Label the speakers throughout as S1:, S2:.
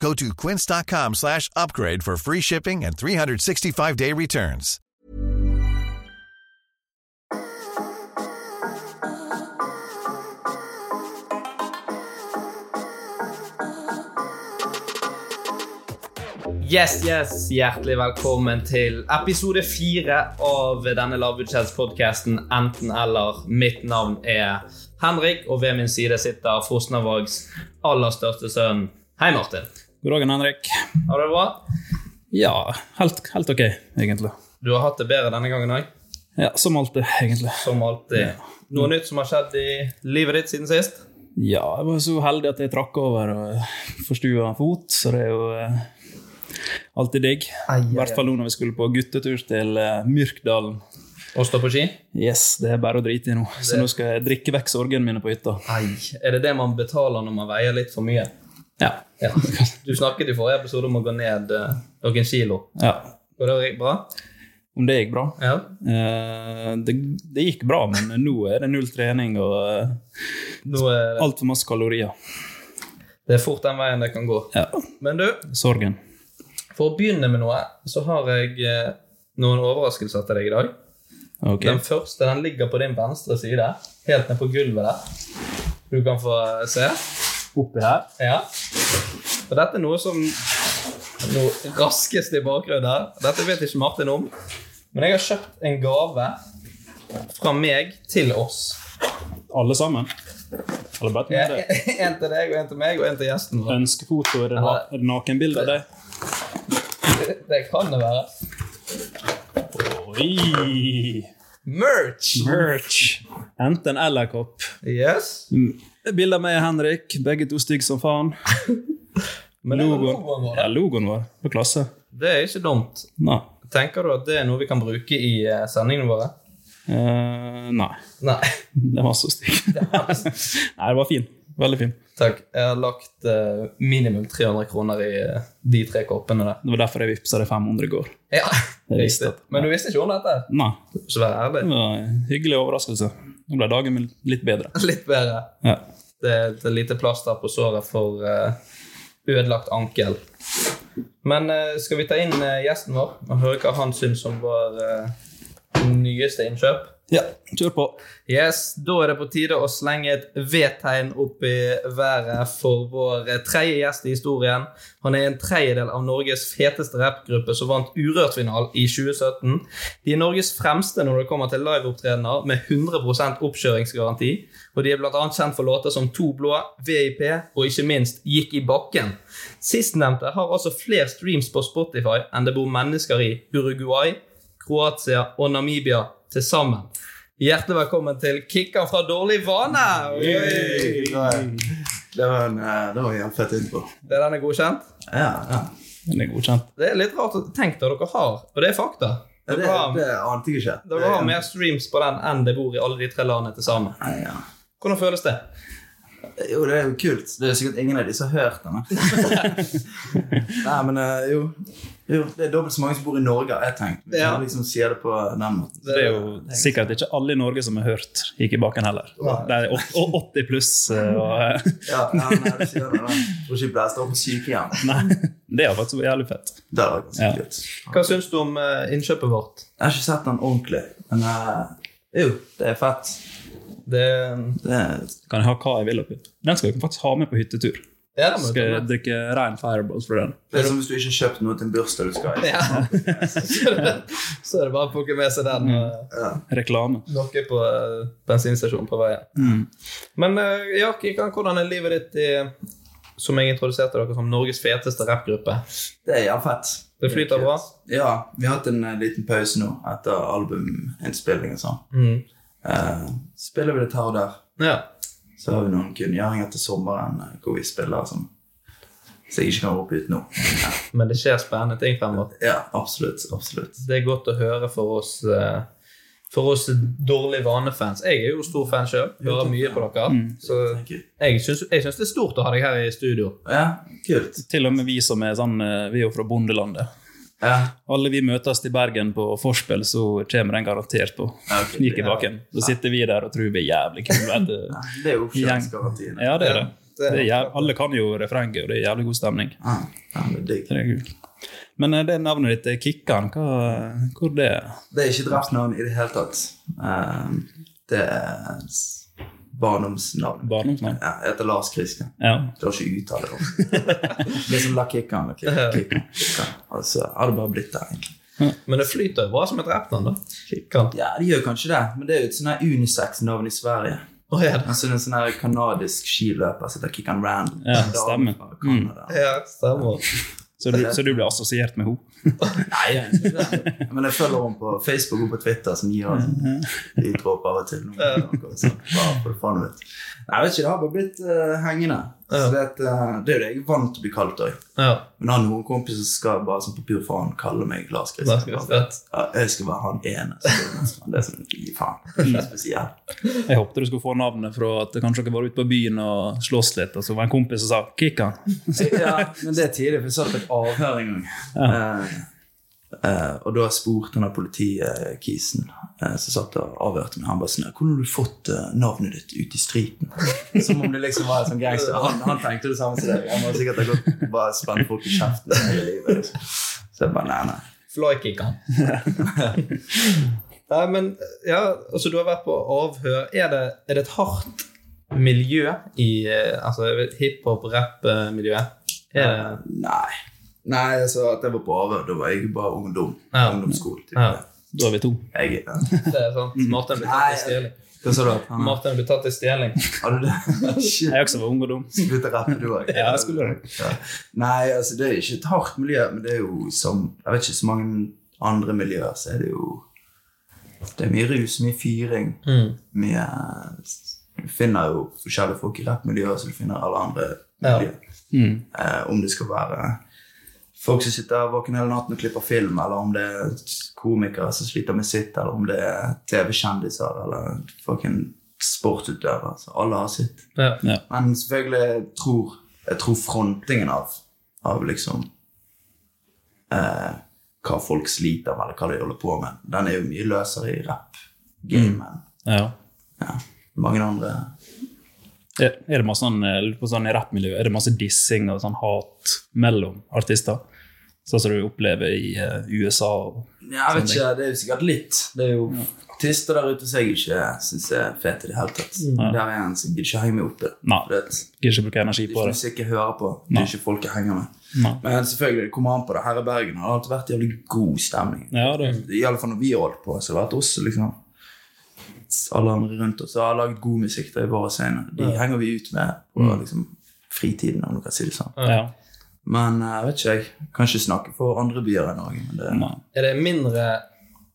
S1: Go to quince.com slash upgrade for free shipping and 365-day returns.
S2: Yes, yes, Hjertelig velkommen til episode fire av denne lavbudsjettspodkasten Enten-eller. Mitt navn er Henrik, og ved min side sitter Fosnavågs aller største sønn. Hei, Martin.
S3: God dagen, Henrik.
S2: Har du det bra?
S3: Ja, helt, helt ok, egentlig.
S2: Du har hatt det bedre denne gangen òg,
S3: Ja, Som alltid, egentlig.
S2: som alltid. Noe nytt som har skjedd i livet ditt siden sist?
S3: Ja, jeg var så heldig at jeg trakk over og forstua en fot, så det er jo eh, alltid digg.
S2: Ai, ai,
S3: I hvert fall nå når vi skulle på guttetur til eh, Myrkdalen.
S2: Å stå på ski?
S3: Yes, det er bare å drite i nå. Så nå skal jeg drikke vekk sorgene mine på hytta.
S2: Ai, er det det man betaler når man veier litt for mye?
S3: Ja.
S2: Ja. Du snakket i forrige episode om å gå ned eh, noen kilo.
S3: ja.
S2: Går det bra?
S3: Om det gikk bra?
S2: Ja.
S3: Eh, det, det gikk bra, men nå er det null trening og eh,
S2: Nå er det,
S3: altfor masse kalorier.
S2: det er fort den veien det kan gå.
S3: Ja,
S2: Men du,
S3: Sorgen.
S2: For å begynne med noe, så har jeg eh, noen overraskelser til deg i dag.
S3: Ok.
S2: Den første den ligger på din venstre side, helt ned på gulvet der. Du kan få eh, se.
S3: Oppi her.
S2: Ja. Og dette er noe som Noe raskest i bakgrunnen her. Dette vet ikke Martin om. Men jeg har kjøpt en gave fra meg til oss.
S3: Alle sammen? Eller bare
S2: En
S3: til deg?
S2: en til deg, og en til meg, og en til gjesten vår.
S3: Ønskefoto? Er det, na er det nakenbilde av deg?
S2: Det kan det være.
S3: Oi!
S2: Merch!
S3: Merch! Enten eller kopp.
S2: Yes.
S3: Bilder av meg og Henrik, begge to stygge som faen.
S2: Men det var logoen vår.
S3: Ja, logoen vår. På klasse.
S2: Det er ikke dumt.
S3: Nei.
S2: Tenker du at det er noe vi kan bruke i eh, sendingene våre?
S3: Eh, nei.
S2: Nei.
S3: Den var så stygg. nei, det var fin. Veldig fin.
S2: Takk. Jeg har lagt eh, minimum 300 kroner i eh, de tre koppene der.
S3: Det var derfor jeg vippsa det 500 i går.
S2: Ja,
S3: Jeg visste det.
S2: Men du visste ikke om dette?
S3: Nei.
S2: Så vær
S3: Det
S2: ærlig.
S3: var en hyggelig overraskelse. Nå ble dagen min litt bedre.
S2: Litt bedre.
S3: Ja.
S2: Det er et lite plaster på såret for eh, ødelagt ankel. Men eh, skal vi ta inn eh, gjesten vår og høre hva han syns om vår eh, nyeste innkjøp?
S3: ja. Kjør på.
S2: Yes, Da er det på tide å slenge et V-tegn opp i været for vår tredje gjest i historien. Han er en tredjedel av Norges feteste rappgruppe som vant Urørt-finalen i 2017. De er Norges fremste når det kommer til liveopptredener med 100 oppkjøringsgaranti. Og de er bl.a. kjent for låter som To blå, VIP og ikke minst Gikk i bakken. Sistnevnte har altså flere streams på Spotify enn det bor mennesker i Uruguay, Kroatia og Namibia til sammen. Hjertelig velkommen til Kikkan fra dårlig vane! Oi.
S4: Det var en, eh, det var en fett intro.
S2: Det er denne godkjent?
S4: Ja, ja.
S3: Den er godkjent.
S2: Det er litt rart å tenke da dere har, og det er fakta.
S4: Ja, Det,
S2: Dere har,
S4: det ante jeg ikke.
S2: dere har mer streams på den enn det bor i alle de tre landene til sammen.
S4: Nei, ja.
S2: Hvordan føles det?
S4: Jo, det er jo kult. Det er sikkert ingen av de som har hørt den. da. Nei, men eh, jo. Jo, det er dobbelt så mange som bor i Norge, har jeg tenkt. Hvis
S2: Ja.
S4: man liksom sier det på den måten.
S3: Det er jo sikkert ikke alle i Norge som har hørt Gikk i baken heller. Det er åt- å- 80 pluss. eh, Og,
S4: Ja, ja nei, du sier det. da. Jeg Tror ikke blæster opp på sykehjem.
S3: nei, det er faktisk jævlig fett.
S4: Det var ganske
S3: Ja.
S4: kult.
S2: Hva syns du om eh, innkjøpet vårt?
S4: Jeg har ikke sett den ordentlig, men eh, jo, det er fett.
S2: Det,
S4: Det er,
S3: Kan jeg ha hva jeg vil oppi. Den skal jeg faktisk ha med på hyttetur.
S2: ja, det
S3: Skal
S2: må du ta
S3: jeg
S2: med.
S3: drikke rein fireballs fra den.
S4: det er som hvis du ikke har kjøpt noe til en bursdag du skal i.
S2: Ja. Så er det bare å plukke med seg den. eh,
S3: Reklame.
S2: Noe på eh, bensinstasjonen på veien. Men eh, ja, Kikan, hvordan er livet ditt i som jeg introduserte dere som Norges feteste rappgruppe.
S4: Det er jævlig fett.
S2: Det flyter bra.
S4: Ja, vi har hatt en eh, liten pause nå etter albuminnspilling og sånn.
S2: Mm.
S4: Eh, spiller vi litt her og der.
S2: Ja.
S4: Så har vi noen kunngjøringer til sommeren eh, hvor vi spiller som så jeg ikke kan rope ut nå.
S2: Men det skjer spennende ting fremover.
S4: Ja, absolutt. absolutt.
S2: Det er godt å høre for oss eh, For oss dårlige vanefans. Jeg er jo stor fan sjøl. Hører mye på dere. Så
S4: Thank you.
S2: jeg syns, jeg syns det er stort å ha deg her i studio.
S4: Ja, kult.
S3: Til og med vi som er sånn, eh, vi er jo fra bondelandet.
S4: Ja,
S3: Alle vi møtes i Bergen på forspill, så kommer den garantert på.
S4: Ja, ok.
S3: Gikk i baken. Så sitter vi der og tror vi er jævlig kule. Det-
S4: det er jo oppkjøringsgarantien.
S3: Ja, det er det. det er jæv- alle kan jo refrenget, og det er jævlig god stemning.
S4: Ja, Ah, ja, men digg.
S3: Så det er kult. Men eh, det navnet ditt, eh, Kikkan, hva, hvor det er?
S4: Det er ikke drept navn i det hele tatt. Ehm, det er s- barndomsnavn.
S3: Barndomsnavn?
S4: Ja, jeg heter Lars Kristian.
S3: Ja.
S4: Jeg klarer ikke å uttale det. Det er som La Kikkan. Altså, har det bare blitt der, egentlig.
S2: Men det flyter jo bra som et rappnavn, da. Kan.
S4: Ja, det gjør kanskje det, men det er jo et sånn her unisex-navn i Sverige.
S2: Å, ja, det-
S4: Altså det er en sånn her kanadisk skiløper som heter Kikkan Rand.
S3: Ja, stemmer. Mm.
S2: ja, stemmer.
S3: Så du, så du blir assosiert med henne?
S4: Nei, jeg er ikke det. Men jeg følger henne på Facebook og på Twitter, som gir oss en lydråp av og til. noen ganger, så Bare for faen vet. Nei, jeg vet ikke, det har bare blitt eh, hengende. Så det, er et, eh, det er jo det jeg er vant til å bli kalt òg.
S2: Ja.
S4: Men jeg har noen kompiser som skal bare som på pur faen kalle meg Lars
S2: Lars Christian.
S4: Kristian. Ja, jeg skal være han ene. Så det er sånn- det er sånn, gi faen. Det er ikke spesielt.
S3: Jeg håpte du skulle få navnet fra at kanskje dere var ute på byen og slåss litt, og så var det en kompis som sa 'Kikkan'.
S4: ja, men det er tidlig, for jeg satt på et avhør en gang. Eh, eh, og da spurte han av politikisen eh, som satt og avhørte meg, han bare sånn Hvordan har du fått eh, navnet ditt ut i streeten? Som om det liksom var en sånn gangster. Han, han tenkte det samme som deg. Han må sikkert ha gått bare spent folk i kjeften hele livet. Liksom. Så jeg bare nei, nei.
S2: Flykickan. Nei, men ja, altså, du har vært på avhør. Er det, er det et hardt miljø i eh, altså, hiphop-rapp-miljøet? Er det
S4: Nei. Nei, jeg sa at jeg var på avhør. Da var jeg bare ungdom.
S2: Ja.
S4: Ungdomsskole. Typ.
S2: Ja.
S3: Da er vi to.
S4: Jeg, ja.
S2: Det er sånn, sant. Martin blir tatt i stjeling.
S4: Hva sa du? at han-
S2: Martin blir tatt i stjeling.
S4: Har du det? Shit.
S3: Jeg også var ung og dum.
S4: Slutt å rappe, du òg.
S3: Ja, jeg skulle gjøre
S4: Nei, altså, det er ikke et hardt miljø, men det er jo som Jeg vet ikke så mange andre miljøer, så er det jo Det er mye rus, mye fyring.
S3: Mm.
S4: Mye Du finner jo forskjellige folk i rappmiljøet som du finner alle andre
S2: Ja.
S4: miljøer. Eh, om det skal være folk som sitter våken hele natten og klipper film, eller om det er komikere som sliter med sitt, eller om det er TV-kjendiser eller fucking sportsutøvere. Så alle har sitt.
S2: Ja.
S3: Ja.
S4: Men selvfølgelig jeg tror jeg tror frontingen av, av liksom eh, hva folk sliter med, eller hva de holder på med, den er jo mye løsere i rap-gamen enn
S3: Ja.
S4: ja, mange andre.
S3: Er er det masse sånn, eh, lurer på sånn i rappmiljøet, er det masse dissing og sånn hat mellom artister? Sånn som du opplever i eh, USA? og-
S4: Ja, Sånn, jeg vet ikke, Det er jo sikkert litt. Det er jo artister der ute som jeg ikke syns er fete i det hele tatt. Der er en som gidder ikke henge meg opp i det.
S3: Mm. Nei.
S4: Du vet,
S3: Gidder ikke bruke energi
S4: Det
S3: på
S4: er ikke
S3: det.
S4: musikk jeg hører på. Det er ikke folk jeg henger med.
S3: Nei.
S4: Men selvfølgelig, det kommer an på det. Her i Bergen har det alltid vært jævlig god stemning.
S3: Ja, det,
S4: I alle fall når vi har holdt på, så har det vært oss, liksom. Alle andre rundt oss har laget god musikk der i våre scener. De henger vi ut med på liksom, fritiden, om du kan si det sånn.
S3: ja.
S4: Men eh, jeg vet ikke, jeg kan ikke snakke for andre byer i Norge, men det
S3: Nei.
S2: Er det mindre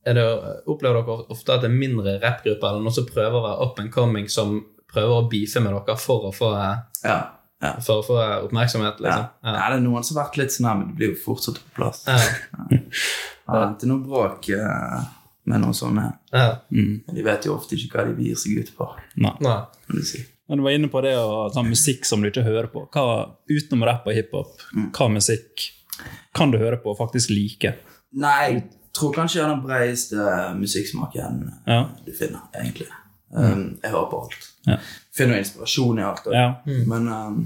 S2: er det, Opplever dere ofte at det er mindre rappgrupper eller noen som prøver å være up and coming, som prøver å beefe med dere for å få,
S4: Ja. Ja.
S2: for å få oppmerksomhet?
S4: Ja.
S2: Liksom?
S4: ja, det er noen som har vært litt sånn her, men det blir jo fortsatt på plass.
S2: Ja.
S4: Det er ikke noe bråk eh, med noen sånne.
S2: Ja.
S4: Men de vet jo ofte ikke hva de gir seg ut på,
S3: Nei.
S2: Nei.
S4: kan du si.
S3: Men du var sånn inne på det å ta musikk som du ikke hører på. Hva, utenom rapp og hiphop, hva musikk kan du høre på og faktisk like.
S4: Nei, jeg tror kanskje jeg har den breieste eh, musikksmaken eh,
S3: Ja. Mm.
S4: du finner, egentlig. Um, jeg hører på alt.
S3: Ja.
S4: Finner inspirasjon i alt. og-
S3: Ja.
S2: Mm.
S4: Men um,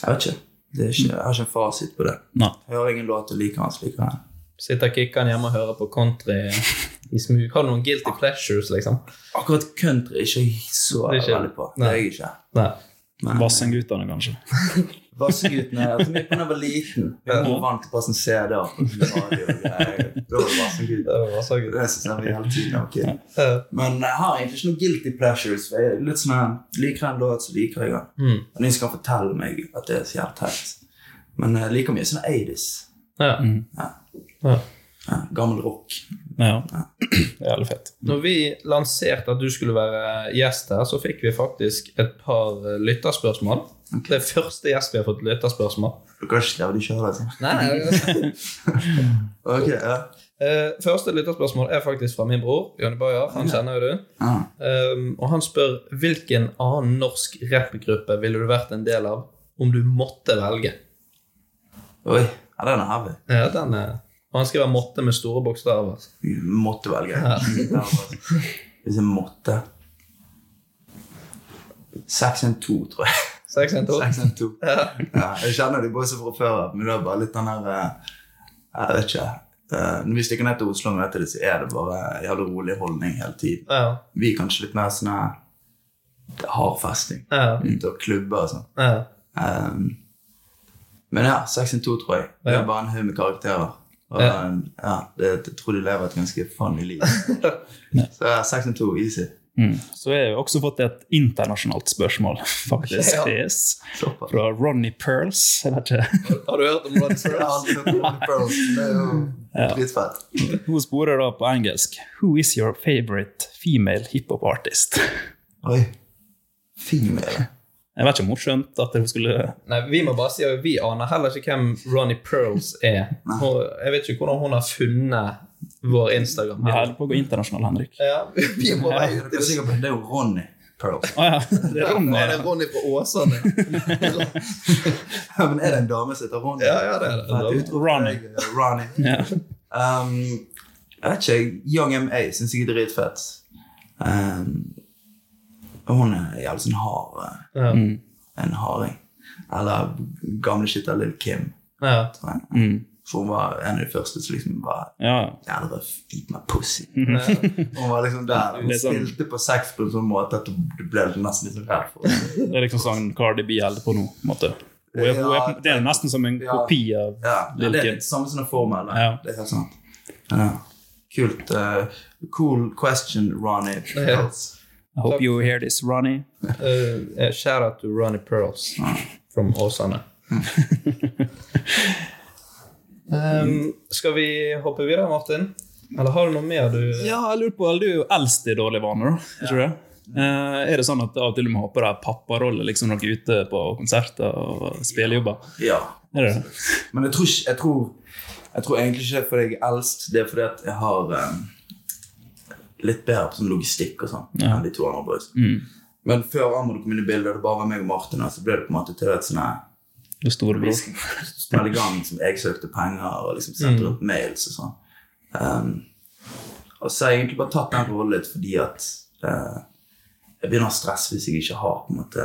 S4: jeg vet ikke. Det er ikke. Jeg har ikke en fasit på det.
S3: Nei.
S4: Jeg hører ingen låt og liker hans, liker den.
S2: Sitter kickeren hjemme og hører på country i smug. Har du noen guilty pleasures, liksom?
S4: Akkurat country er ikke jeg så
S2: Det er ikke-
S4: veldig på. Det
S2: Nei.
S4: er jeg ikke.
S2: Nei.
S3: Vassendgutene, kanskje.
S4: Vassguttene Jeg tror jeg var liten. Jeg var vant til å sånn passe en CD. og radio og greier. Da var det Vassgutt.
S2: Det var så gøy.
S4: Det synes jeg var hele tiden. ok.
S2: Eh,
S4: Men jeg har egentlig ikke noen guilty pleasures. For jeg er litt sånn her, Liker jeg en låt, så liker jeg den.
S2: Mm.
S4: Men ingen skal fortelle meg at det er så jævlig teit. Men jeg liker mye sånn 80s.
S2: Ja.
S4: Mm.
S2: Ja.
S4: Ja, gammel rock.
S3: Ja. Det er jævlig fett.
S2: Når vi lanserte at du skulle være gjest her, så fikk vi faktisk et par eh, lytterspørsmål. Det er første gjest vi har fått lytterspørsmål.
S4: Du kan ikke skrive de sjøl, altså.
S2: Nei, nei, nei.
S4: Ok, ja.
S2: Eh, Første lytterspørsmål er faktisk fra min bror, Jonny Bayer. Han kjenner jo du.
S4: Ja.
S2: Um, og han spør hvilken annen norsk rappgruppe ville du vært en del av om du måtte velge?
S4: Oi. Ja, den er heavy.
S2: Ja, den er... Og han skriver 'måtte' med store bokstaver.
S4: Vi måtte velge. altså. Hvis jeg måtte 612, tror jeg.
S2: 612.
S4: 612. Ja, jeg kjenner de boysa fra før av, men det er bare litt den her eh, Jeg vet ikke. eh, Når vi stikker ned til Oslo, vet jeg det, så er det bare en jævlig rolig holdning hele tiden.
S2: Ja,
S4: Vi er kanskje litt mer sånn her, det er hard festing.
S2: ja,
S4: Ute og klubber og sånn.
S2: ja.
S4: Ehm, men ja, 612, tror jeg. Det
S2: Ja.
S4: er bare en haug med karakterer. Og,
S2: Ja.
S4: eh, ja, det, jeg tror de lever et ganske funny liv. Så ja, 612, easy.
S3: Mm. Så har jeg jo også fått et internasjonalt spørsmål, faktisk.
S2: Ja.
S3: Yes.
S4: Såpass.
S3: Fra Ronny Pearls. Jeg vet ikke.
S2: Har du hørt om Rod
S4: Det er alltid noe med pearls. Det er jo dritfett.
S3: Hun sporer da på engelsk Who is your favorite female hiphop artist?
S4: Oi. Fin med det.
S3: Jeg vet ikke om hun skjønte at hun skulle
S2: Nei, vi må bare si at vi aner heller ikke hvem Ronny Pearls er. Hun, jeg vet ikke hvordan hun har funnet vår Instagram.
S3: Vi
S2: her.
S3: holder på å gå internasjonal, Henrik.
S2: Ja, vi må
S4: Jeg
S2: være
S4: er ikke sikker på det. Det er jo Ronny Pearls.
S3: Å ja, det er Ronny.
S2: Er det Ronny fra Åsane?
S4: Men er det en dame som heter Ronny?
S2: Ja, ja, det er det.
S4: Nei, du tror
S3: Ronny.
S4: jeg er Ronny.
S3: Ja.
S4: Um, jeg vet ikke. jeg- Young M.A. syns jeg er dritfett. Um, og hun er jævlig sånn hard. eh,
S2: Ja.
S4: En harding. Eller gamle shit av Lill Kim.
S2: Ja.
S4: tror jeg. For hun var en av de første som liksom var
S3: ja.
S4: jævlig røff. Gi meg pussy. Hun var liksom der. Hun
S3: Det er sånn-
S4: spilte på sex på en sånn måte at du ble nesten litt sånn redd for henne.
S3: Det er liksom sånn Cardi B holder på nå. på en måte. Hun er, hun er, på- det er nesten som en
S4: Ja.
S3: kopi av
S4: Ja,
S3: Lil'
S4: det er
S3: Kim.
S4: litt samme som formel.
S3: Ja.
S4: Det er helt sant. Ja. Kult. eh, cool question, Ronny.
S2: Ja.
S3: I hope you hear this, Ronny.
S2: Uh, shout out to Ronny Pearls from Åsane. um, skal vi hoppe videre, Martin? Eller har du noe mer du
S3: Ja, jeg lurer på, Du er jo eldst i dårlige vaner, da. Er, ikke det? Eh, er det sånn at av og til du må ha på deg papparolle liksom, når dere er ute på konserter og spillejobber?
S4: Ja.
S3: Er det det?
S4: Men jeg tror, ikke- jeg, tror, jeg tror egentlig ikke det er fordi jeg er eldst. Det er fordi at jeg har eh, litt bedre på sånn logistikk og sånn enn de to andre boys. Men før Amund kom inn i bildet, og det bare var meg og Martin, her, så ble det på en måte til et sånn her
S3: Du store
S4: Vi
S3: bror.
S4: skal smelle i gang som jeg søkte penger og liksom sendte rundt mails og sånn. Um, og så har jeg egentlig bare tatt den rollen litt fordi at eh, jeg begynner å stresse hvis jeg ikke har på en måte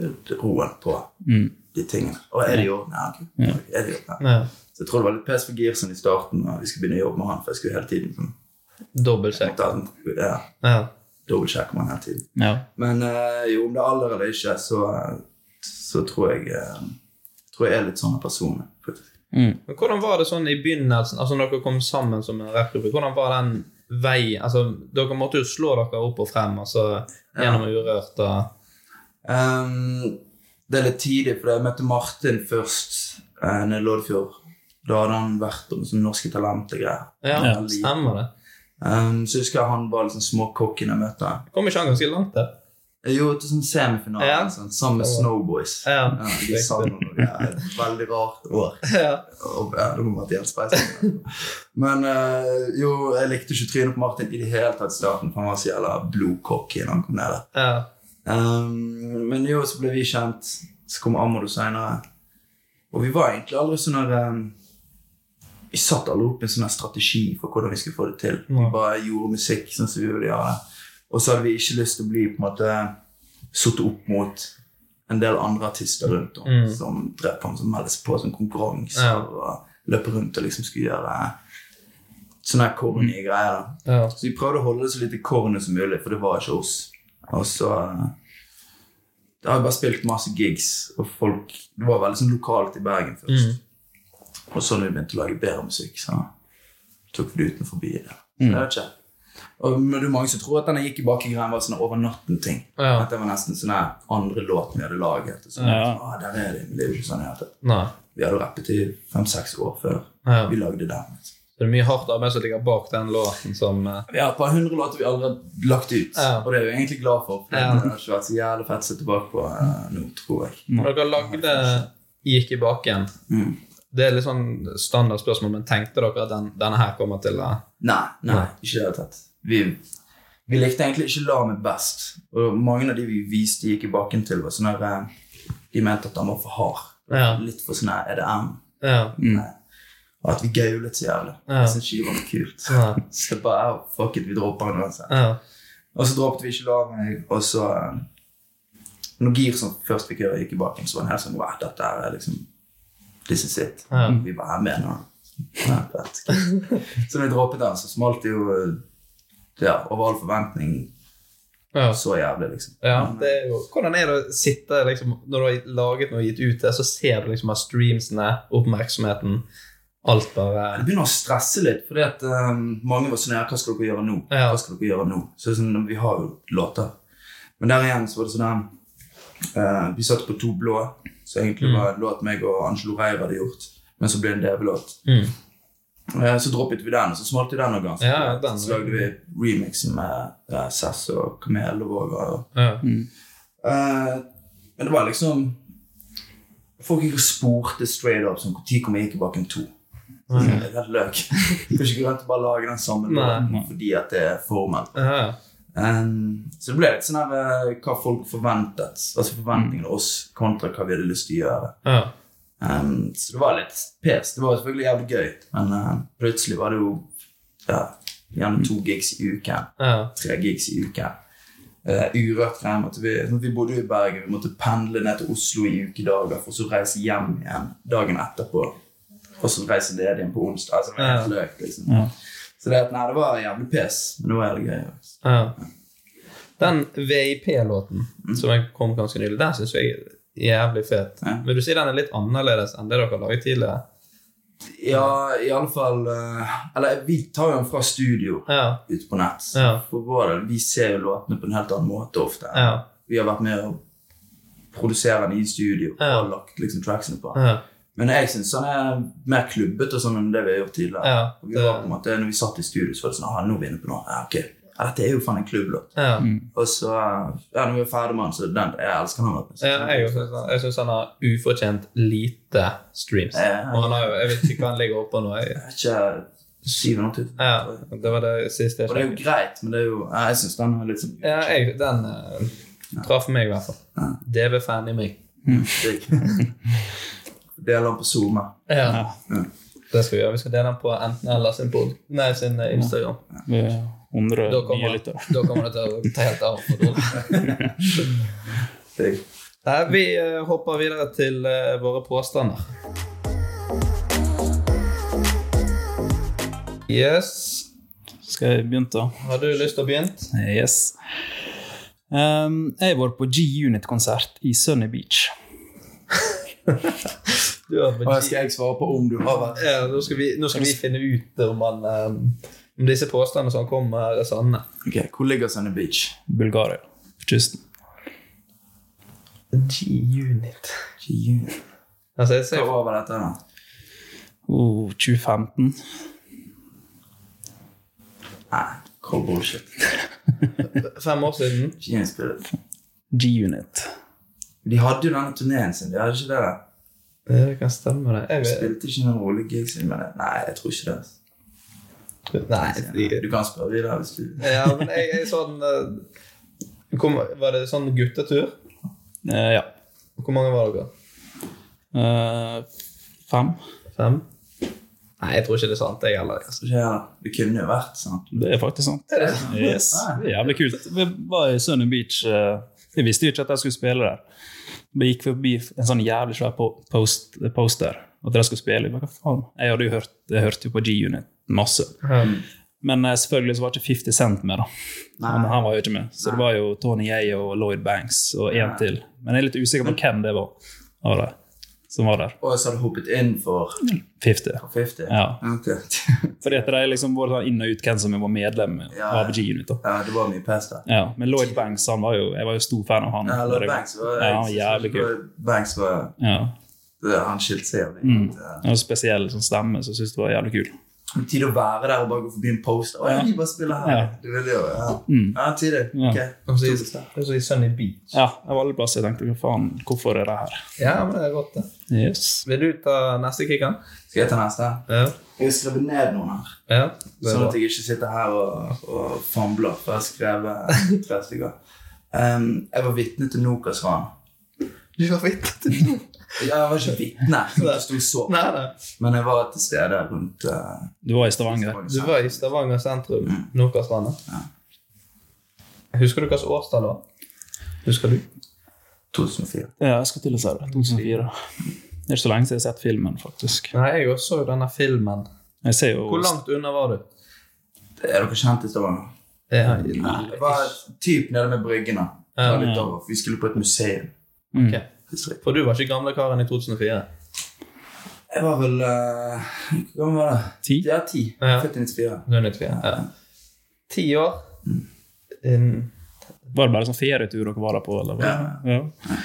S4: eh, roen på de tingene. Og er det i orden? Mm. Ja, ok. Ok, Er det i orden?
S2: Nei,
S4: Så jeg tror det var litt pes for Girsen i starten, og vi skulle begynne å jobbe med han, for jeg skulle hele tiden sånn,
S2: Dobbeltsjekk.
S4: måtte ha en- ja,
S2: Ja.
S4: dobbeltsjekke med han hele tiden.
S3: Ja.
S4: Men eh, jo, om det er alder eller ikke, så, eh, så tror jeg eh, tror jeg er litt sånn en person. faktisk.
S2: Men hvordan var det sånn i begynnelsen, altså når dere kom sammen som en rappgruppe, hvordan var den veien? Altså, dere måtte jo slå dere opp og frem, altså gjennom Urørt og
S4: Ehm, det er litt tidlig, for jeg møtte Martin først uh, nede i Loddefjord. Da hadde han vært om sånn Norske Talent og greier.
S2: Ja,
S3: Ja.
S2: stemmer det.
S4: Ehm, så husker jeg han var liksom småkokken jeg møtte.
S2: Kom ikke han ganske langt der?
S4: Jeg gjorde til sånn semifinale
S2: Ja.
S4: sånn, sammen med Snowboys.
S2: Ja.
S4: de sang om noe greier. Veldig rart år.
S2: Ja.
S4: Og, ja, det må ha vært helt speisende. Men eh, jo, jeg likte ikke trynet på Martin i det hele tatt i starten, for han var så jævla blodcocky da han kom ned der.
S2: Ja.
S4: Ehm, men jo, så ble vi kjent. Så kom Amado seinere. Og vi var egentlig aldri sånn her eh, Vi satt aldri opp en sånn her strategi for hvordan vi skulle få det til. Vi bare gjorde musikk sånn som vi ville gjøre det. Og så hadde vi ikke lyst til å bli på en måte satt opp mot en del andre artister rundt om
S2: Mm.
S4: som drev på som meldte seg på som konkurranser
S2: Ja.
S4: og løp rundt og liksom skulle gjøre sånne her corny greier. da.
S2: Ja.
S4: Så vi prøvde å holde det så lite corny som mulig, for det var ikke oss. Og så eh, Da har vi bare spilt masse gigs, og folk Det var veldig sånn lokalt i Bergen først.
S2: Mm.
S4: Og så når vi begynte å lage bedre musikk, så tok vi det utenfor byen. da. Så
S2: Mm.
S4: Jeg vet ikke. Og men det er mange som tror at denne gikk i bakegreien var sånn over natten-ting.
S2: Ja.
S4: At det var nesten sånn her andre låt vi hadde laget. Og sånn,
S3: Ja.
S4: «Å, der er det, men det er jo ikke sånn i det hele tatt.
S2: Nei.
S4: Vi hadde rappet i fem-seks år før
S2: Ja.
S4: vi lagde den.
S2: Så det er mye hardt arbeid som ligger bak den låten som eh,
S4: Vi har et par hundre låter vi aldri har lagt ut,
S2: Ja.
S4: og det er jeg egentlig glad for. For
S2: Ja.
S4: Det har ikke vært så jævlig fett å se tilbake på eh, nå, tror jeg.
S2: Når dere lagde Gikk i baken
S4: Mm.
S2: Det er litt sånn standardspørsmål, men tenkte dere at den, denne her kommer til å
S4: Nei, nei,
S2: Nei.
S4: ikke i det hele tatt. Vi, vi likte egentlig ikke Lamet best. Og mange av de vi viste gikk i bakken til, var sånne her, eh, de mente at han var for hard.
S2: Ja.
S4: Litt for sånn her EDM.
S2: Ja.
S4: Nei. Og at vi gaulet så jævlig.
S2: Ja.
S4: Jeg synes ikke det var noe kult.
S2: Ja.
S4: Så det bare, eh, fuck it, vi dropper han uansett.
S2: ja.
S4: Og så droppet vi ikke la meg, og så eh, Når Gir som først fikk høre gikk i baken, så var han helt sånn wow, dette her er liksom This is it.
S2: Ja.
S4: Vi bare er med nå. Ja, fett. så når vi droppet den, så smalt det jo eh, ja, over all forventning
S2: ja.
S4: så jævlig, liksom.
S2: ja det er jo, hvordan er det å sitte liksom, Når du har laget noe og gitt ut det, så ser du liksom at streamsene, oppmerksomheten, alt bare
S4: Det begynner å stresse litt, fordi at eh, mange var sånn her, hva skal dere gjøre nå?
S2: Ja.
S4: Hva skal dere gjøre nå? Så det er sånn, vi har jo låter. Men der igjen så var det sånn her, eh, vi satt på to blå, så egentlig
S2: Mm.
S4: var en låt meg og Angelo Reir hadde gjort, men så ble det en DV-låt.
S2: Mm.
S4: Eh, så droppet vi den, og så smalt vi den noe ganske.
S2: Ja, den-
S4: Så lagde vi remixen med uh, Sass og Kamel og Våger. Og,
S2: ja.
S4: Eh, men det var liksom Folk gikk og spurte straight up som når kommer jeg tilbake en to. Så jeg sa, Rett løk. Kan ikke gå rundt og bare lage den samme låten fordi at det er formelt.
S2: Ja.
S4: Um, så det ble litt sånn her eh, hva folk forventet. Altså forventningene oss kontra hva vi hadde lyst til å gjøre.
S2: Ja.
S4: Um, så det var litt pes. Det var selvfølgelig jævlig gøy, men eh, plutselig var det jo ja, gjerne to gigs i uken
S2: Ja.
S4: tre gigs i uken. Eh, urørt frem at vi, sånn at vi bodde jo i Bergen. Vi måtte pendle ned til Oslo i ukedager for så reise hjem igjen dagen etterpå. Og så reise ned igjen på onsdag. Altså, det var helt løk, liksom. Så det, at, nei, det var jævlig pes, men det var jævlig gøy. altså.
S2: Ja. Den VIP-låten
S4: Mm.
S2: som jeg kom ganske nylig, den syns jeg er jævlig fet.
S4: Ja.
S2: Vil du si den er litt annerledes enn det dere har laget tidligere?
S4: Ja, i alle fall eh, Eller vi tar jo den fra studio
S2: Ja.
S4: ute på nett.
S2: Ja.
S4: For vår del, vi ser jo låtene på en helt annen måte ofte.
S2: Ja.
S4: Vi har vært med å produsere den i studio
S2: Ja.
S4: og lagt liksom, tracksene på.
S2: Ja.
S4: Men jeg syns han er mer klubbete sånn enn det vi har gjort tidligere.
S2: Ja,
S4: Og vi
S2: det-
S4: var på en måte, når vi satt i studio, så var det sånn ah, nå er vi inne på noe. Ja, ok. Ja, dette er jo faen en klubblåt.
S2: ja.
S4: Og så ja, når vi er ferdig med den, så den jeg elsker han. vet du. Så-
S2: Ja, jeg også synes han- jeg syns han har ufortjent lite streams.
S4: Ja.
S2: Og han har jo, Jeg vet ikke hva han ligger oppå nå. Jeg,
S4: Jeg vet ikke 700 000.
S2: ja, det var det siste jeg
S4: Og det er jo
S2: sjekket.
S4: greit, men det er jo ja, Jeg syns den er litt sånn
S2: Ja, jeg, den eh, traff meg, i hvert fall. DV-fan i meg.
S4: digg. Deler den på SoMe.
S2: Ja. Det skal vi gjøre. Vi skal dele den på enten eller sin pod. Nei, sin eh, Instagram.
S3: Det er 100
S2: Da
S3: nye
S2: kommer,
S3: lyttere.
S2: da kommer det til å ta helt av for Dole.
S4: Digg.
S2: Nei, Vi eh, hopper videre til eh, våre påstander. Yes.
S3: Skal jeg begynne, da?
S2: Har du lyst til å begynne?
S3: Yes. Ehm, jeg var på G-Unit-konsert i Sunny Beach.
S2: Du har på
S4: Og
S2: G-
S4: skal jeg svare på om du har vært
S2: ja, nå, skal vi, nå skal vi finne ut om, han, eh, om disse påstandene som kommer, er sanne.
S4: Ok, Hvor ligger Sunny Beach?
S3: Bulgaria. På kysten.
S2: G-unit.
S4: Hva
S2: Altså, jeg ser,
S4: år var dette? da?
S3: Oh, 2015.
S4: Nei, cold bullshit.
S2: fem år siden.
S4: Genius spirit.
S3: G-Unit.
S4: De hadde jo denne turneen sin, de hadde ikke det?
S2: Ja, Det kan stemme, det.
S4: De
S2: Jeg,
S4: spilte ikke noen rolig gigs inn med det. Nei, jeg tror ikke det. altså.
S2: vet- nei, de-
S4: Du kan spørre videre hvis du
S2: ja, men jeg, jeg så den eh, kom, Var det sånn guttetur?
S3: Eh, ja.
S2: Hvor mange var dere?
S3: Eh, fem.
S2: Fem? Nei, jeg tror ikke det er sant, jeg heller. Altså.
S4: Ja, det kunne jo vært sant.
S3: Det er faktisk sant. Yes. Det er jævlig kult. Vi var i Sunny Beach. eh, Jeg visste jo ikke at jeg skulle spille der. Vi gikk forbi en sånn jævlig svær po- post, poster at jeg skulle spille. Jeg bare, hva faen? Jeg hadde jo hørt, jeg hørte jo på G-Unit masse. Men eh, selvfølgelig så var ikke 50 Cent med, da. Han, han var jo ikke med. Så det var jo Tony Yay og Lloyd Banks og én til. Men jeg er litt usikker på hvem det var av de som var der.
S4: Og så hadde hoppet inn for
S3: 50.
S4: 50.
S3: Ja.
S4: Ok.
S3: Fordi at de liksom var sånn inn og ut hvem som var medlem
S4: Ja.
S3: av G-Unit. da.
S4: ja, det var mye pes der.
S3: Ja, men Lloyd Banks han var jo, jeg var jo stor fan av han.
S4: Ja, Lloyd Banks var,
S3: ja, han var jævlig kul.
S4: Banks var
S3: Ja.
S4: Han skilte seg jævlig.
S3: Mm.
S4: Eh,
S3: Han hadde spesiell sånn stemme, så jeg syntes det var jævlig kul.
S4: Tid å være der og bare gå forbi en poster. Å, ja,
S3: Ja.
S4: de bare spiller her.
S3: Ja.
S4: Du vil jo, ja.
S3: Mm.
S4: ja, tidlig.
S3: Ja.
S4: Ok.
S2: Det er så i Sunny Beach.
S3: Ja, av alle plasser jeg tenkte hva faen, hvorfor er det her?
S2: Ja, men det er godt, det.
S3: Yes.
S2: Vil du ta neste kicker?
S4: Skal jeg ta neste?
S2: Ja.
S4: Jeg har skrevet ned noen her,
S2: ja. Det er
S4: sånn
S2: bra.
S4: at jeg ikke sitter her og, og famler. For jeg har skrevet tre stykker. Em, Um, jeg var vitne til Nokas-ran.
S2: Du var vittig til noe.
S4: Ja, jeg var ikke vitne, sånn at jeg sto og så.
S2: Nei, nei.
S4: men jeg var til stede rundt eh,
S3: Du var i Stavanger.
S2: Du var i Stavanger sentrum, Nokastranda. Husker du hva slags årstall det var? Husker du?
S4: 2004.
S3: Ja, jeg skal til å si det. 2004. Det er ikke så lenge siden jeg har sett filmen, faktisk.
S2: Nei, jeg også så jo denne filmen.
S3: Jeg ser jo...
S2: Hvor langt unna var du?
S4: Er dere kjent i Stavanger?
S2: Ja,
S4: Det var typ nede med bryggene. Det var litt over, for Vi skulle på et museum.
S3: Mm.
S2: Ok.
S4: distrikt.
S2: For du var ikke gamle karen i 2004?
S4: Jeg var vel eh, Hvor gammel var jeg?
S3: Ti?
S4: Ja, ti.
S2: Ja.
S4: Født i 94.
S2: Du er nødt til å- ja. Ti år.
S3: Mm.
S2: In,
S3: Var det bare sånn ferietur dere var der på, eller? var det- Ja.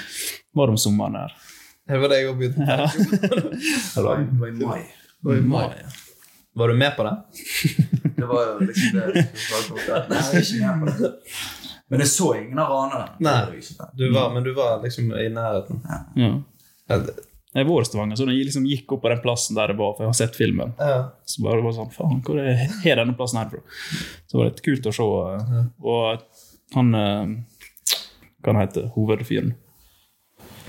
S3: Var det om sommeren her?
S2: det var det jeg også begynte med.
S4: Det var i- det var i mai.
S2: Var, var du med på det?
S4: Det var jo liksom det det var Nei, jeg er ikke med på det. Men jeg så ingen av ranerne.
S2: Nei.
S4: Det var ikke det.
S2: Du var, men du var liksom i nærheten.
S3: Mm. Ja.
S2: Ja, det-
S3: Jeg var i Stavanger, så når jeg liksom gikk opp på den plassen der det var, for jeg har sett filmen.
S2: ja.
S3: Så bare var det sånn, faen, hvor er er denne plassen her fra? Så det var litt kult å se. eh, Og han, eh, hva han heter, hovedfyren,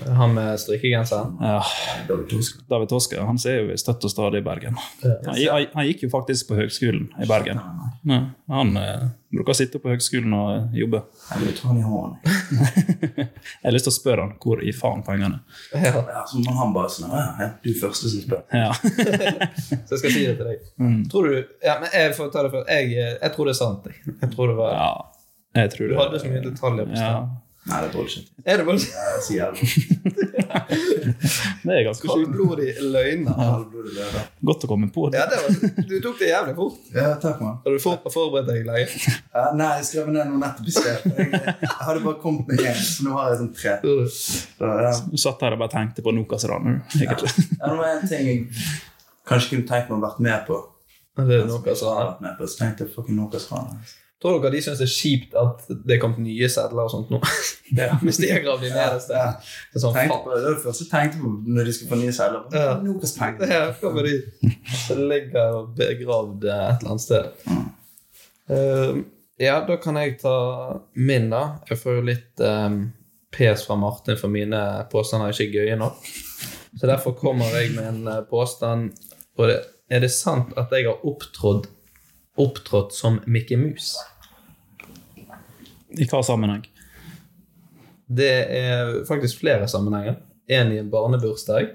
S2: Han med strikkegenseren.
S3: ja,
S4: Det var to sk-
S3: David Toske, han ser jo støtt og stadig i Bergen. Han, han- han gikk jo faktisk på høgskolen i Bergen. Ja, han eh, bruker å sitte på høgskolen og eh, jobbe.
S4: Jeg vil ta han i hånden.
S3: Jeg har lyst til å spørre han, hvor i faen pengene?
S2: Ja.
S4: Ja, så må han bare sånn ja, ja, Du er første som spør.
S3: Ja,
S2: Så jeg skal si det til deg.
S3: Mm.
S2: Tror du Ja, men jeg får ta det først. Jeg, jeg tror det er sant. Jeg, jeg tror det var
S3: ja jeg tror
S2: Du
S3: det.
S2: hadde så mye detaljer på stedet.
S3: Ja,
S4: Nei, det er bullshit.
S2: Er det bare
S4: Jeg sier jævlig.
S3: det er ganske sjukt.
S2: kaldblodig løgner?
S4: Halvblodig løve.
S3: Godt å komme på det.
S2: Ja, det var, du tok det jævlig fort.
S4: Ja, takk, mann.
S2: Har du fort forberedt deg lenge?
S4: Ja, nei, jeg skrev ned noe nettopp i sted. Jeg, jeg hadde bare kommet med én, så nå har jeg sånn tre. Så, ja.
S3: Du satt her og bare tenkte på Nokas-ranet, egentlig.
S4: Ja, det var en ting jeg kanskje kunne tenkt meg å vært med på.
S2: Det er noe sånn.
S4: vært med på. Så tenkte jeg fucking noe sånt.
S2: Tror dere de syns det er kjipt at det er kommet nye sedler og sånt nå?
S4: Ja.
S2: Hvis de har gravd de nederste.
S4: Ja.
S2: Det er sånn,
S4: Tenkte på,
S2: faen.
S4: det var det første jeg tenkte på når de skulle få nye seiler.
S2: Ja.
S4: Nokas penger.
S2: Her kommer de som ligger og begravd eh, et eller annet sted. Eh, ja, da kan jeg ta min, da. Jeg får jo litt eh, pes fra Martin for mine påstander er ikke gøye nok. Så derfor kommer jeg med en eh, påstand. Og det, er det sant at jeg har opptrådt, opptrådt som Mikke Mus?
S3: I hva sammenheng?
S2: Det er faktisk flere sammenhenger. En i en barnebursdag,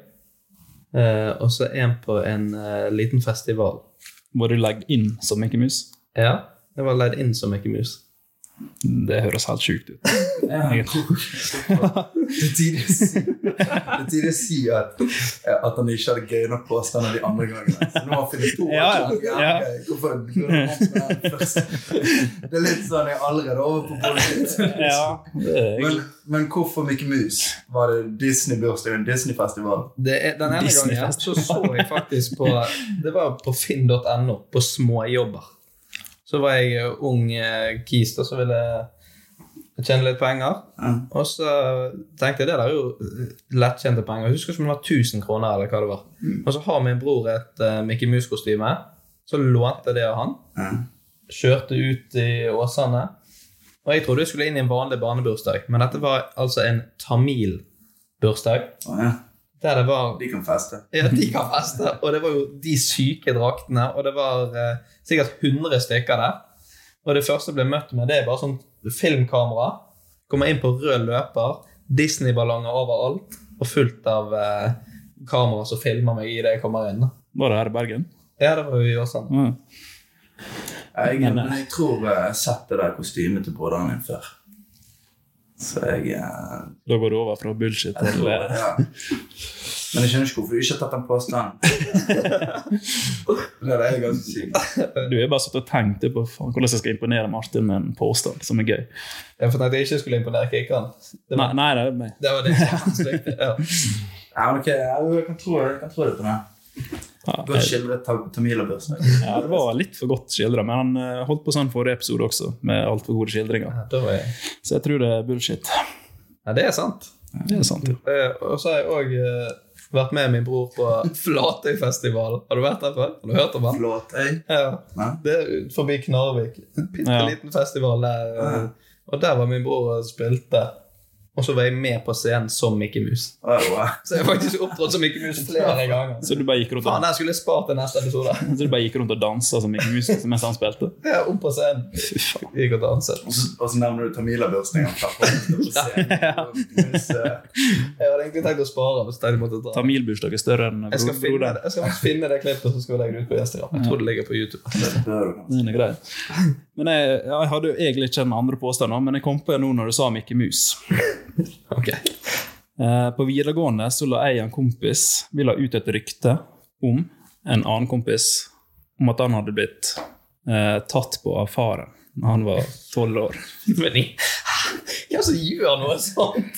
S2: eh, og så en på en eh, liten festival.
S3: Var du legg inn som Mikke Mus?
S2: Ja, jeg var leid inn som Mikke Mus.
S3: Det høres helt sjukt ut.
S4: Det er tidlig å si, det er tidlig å si at, at han ikke hadde gøy nok påstander de andre gangene. Så nå har han funnet to.
S3: Ja, ja.
S4: Ja,
S3: Ja.
S4: ok, Hvorfor burde han komme med den først? Det er litt sånn jeg er allerede over på bullshit.
S3: Ja, det er
S4: Men,
S3: egentlig-
S4: men hvorfor Mikke Mus? Var det Disney-bursdagen? Disney-festival?
S2: Det er, den ene
S3: Disney
S2: gangen så
S3: Festival.
S2: så jeg faktisk på Det var på finn.no, på småjobber. Så var jeg eh, ung eh, kis, og så ville jeg tjene litt penger.
S4: Ja.
S2: Og så tenkte jeg det der er jo eh, lettjente penger. Jeg husker ikke om det var 1000 kroner eller hva det var. Og så har min bror et uh, Mickey Mouse-kostyme. Så lånte jeg det av han.
S4: Ja.
S2: Kjørte ut i Åsane. Og jeg trodde jeg skulle inn i en vanlig barnebursdag, men dette var altså en tamilbursdag.
S4: Å, ja.
S2: Der det var
S4: De kan feste.
S2: ja, de kan feste. Og det var jo de syke draktene, og det var eh, sikkert 100 stykker der. Og det første jeg ble møtt med, det er bare sånn filmkamera. Kommer inn på rød løper, Disney-ballonger overalt, og fullt av eh, kamera som filmer meg idet jeg kommer inn.
S3: Var det her i Bergen?
S2: Ja, det var jo også sånn.
S3: Mm.
S4: Jeg,
S3: Men, eh,
S4: men jeg tror eh, jeg har sett det der kostymet til broderen min før. Så jeg eh,
S3: Da går det over fra bullshit
S4: jeg
S3: til
S4: tror,
S3: eh,
S4: ja. Men jeg skjønner ikke hvorfor du ikke har tatt den påstanden. det er ganske sykt.
S3: eh, Du har bare satt og tenkt på faen, hvordan jeg skal imponere Martin med en påstand som er gøy.
S2: Jeg tenkte jeg ikke skulle imponere kickeren. Det
S3: Nei,
S2: var
S3: nei det er meg.
S2: det, var det som var vanskelig. Ja.
S4: Ja, men ok, jeg kan tro, jeg kan tro det på den.
S3: Ja,
S4: Godt skildret tam- tamilerbørsdag.
S3: ja, det var litt for godt skildra, men han eh, holdt på sånn forrige episode også, med altfor gode skildringer.
S2: Ja, da var jeg.
S3: Så jeg tror det er bullshit.
S2: Ja, det er sant.
S3: Det er sant. ja.
S2: Eh, Og så har jeg òg vært med min bror på Flatøyfestivalen. Har du vært der før? Har du hørt om den?
S4: Flåtøy.
S2: Ja.
S4: Nei?
S2: Det er ut forbi Knarvik. En bitte liten festival der. eh, Og der var min bror og spilte. Og så var jeg med på scenen som Mickey Mus.
S4: Å, wow.
S2: Så jeg har faktisk opptrådt som Mickey Mus flere ganger.
S3: Så du bare gikk rundt
S2: Faen,
S3: og,
S2: jeg skulle spart til neste episode.
S3: så du bare gikk rundt og dansa som Mikke Mus mens han spilte?
S2: Jeg er opp på scenen.
S3: Fy faen.
S2: Gikk og danset.
S4: Og så- Og så nevner du tamilerbørsdagen.
S2: Jeg hadde egentlig tenkt å spare, men så tenkte jeg måtte dra.
S3: Tamilbursdag er større enn
S2: Jeg skal
S3: bro-
S2: finne
S3: broderen.
S2: det, jeg skal finne det klippet og så skal vi legge det ut på Instagram. Jeg tror det ligger på YouTube.
S3: Den er grei. Men jeg, ja, jeg hadde jo egentlig ikke en andre påstand, nå, men jeg kom på en nå når du sa Mikke Mus.
S2: Ok.
S3: Eh, På videregående så la jeg og en kompis Vi la ut et rykte om en annen kompis om at han hadde blitt eh, tatt på av faren da han var tolv år.
S2: Men i- Hvem som gjør noe sånt?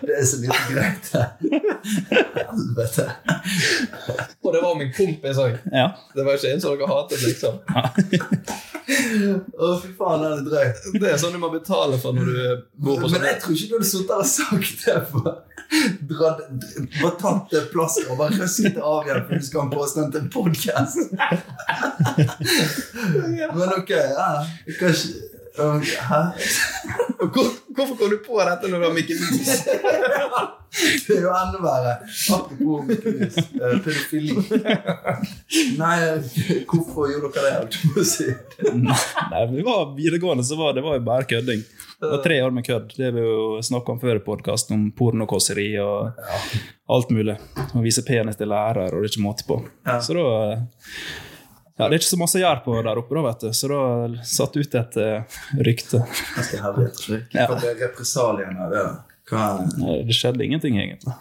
S4: Det er så lite greit, det. Helvete.
S2: Og det var min kompis òg.
S3: Ja.
S2: Det var ikke en som dere hatet, liksom.
S4: Å, fy faen, det er drøyt.
S2: Det er sånn du må betale for når du bor på
S4: Men
S2: sånn.
S4: jeg tror ikke du hadde sittet og sagt det. på- dratt, bare tatt det plasteret og bare røsket det av igjen, for du skal ha en påstand til en podkast. Men ok, ja. Kanskje ok, Hæ?
S2: Hvorfor kom du på dette når du har Mikke Mus?
S4: Det er jo enda verre. Apropos Mikkelhus, eh, pedofili. Nei, hvorfor gjorde dere det? holdt jeg på å si?
S3: Nei, vi var videregående, så var det var jo bare kødding. Det var tre år med kødd. Det vi jo snakka om før i podkasten, om pornokåseri og alt mulig. Å vise penis til lærer, og det er ikke måte på. Så da ja, Det er ikke så masse å gjøre på der oppe, da, vet du. så da satt ut et eh, rykte.
S4: Ganske herlig.
S3: Ja.
S4: Hva ble represaliene av det? da? Hva
S3: Nei, Det skjedde ingenting, egentlig.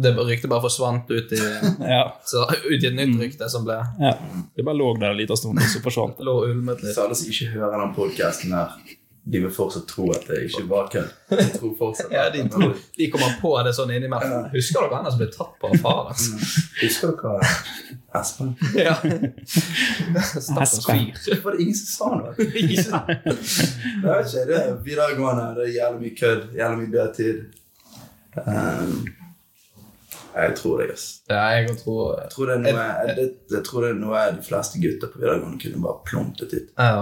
S2: Det ryktet bare forsvant ut i,
S3: Ja,
S2: så, ut i et nytt rykte som ble
S3: ja. Det bare lå der en liten stund, og så forsvant det.
S2: lå og ulmet liksom. litt.
S4: Så alle som ikke hører den podkasten her, de vil fortsatt tro at det ikke var kødd. De tror fortsatt
S2: Ja, de, tror, de kommer på det sånn innimellom. Husker dere han som ble tatt på av altså? faren hans?
S4: Husker dere Espen?
S2: Ja.
S3: Hest-
S2: Stakkars fyr.
S4: Det var det ingen som sa noe. Det er ikke- det er ikke det. er Videregående, det er jævlig mye kødd, jævlig mye dødtid. Um, jeg tror det, ass.
S2: Ja, jeg tror
S4: Jeg tror det, er noe, jeg, det, jeg tror det er noe de fleste gutter på videregående kunne bare plumpet ut.
S2: Ja,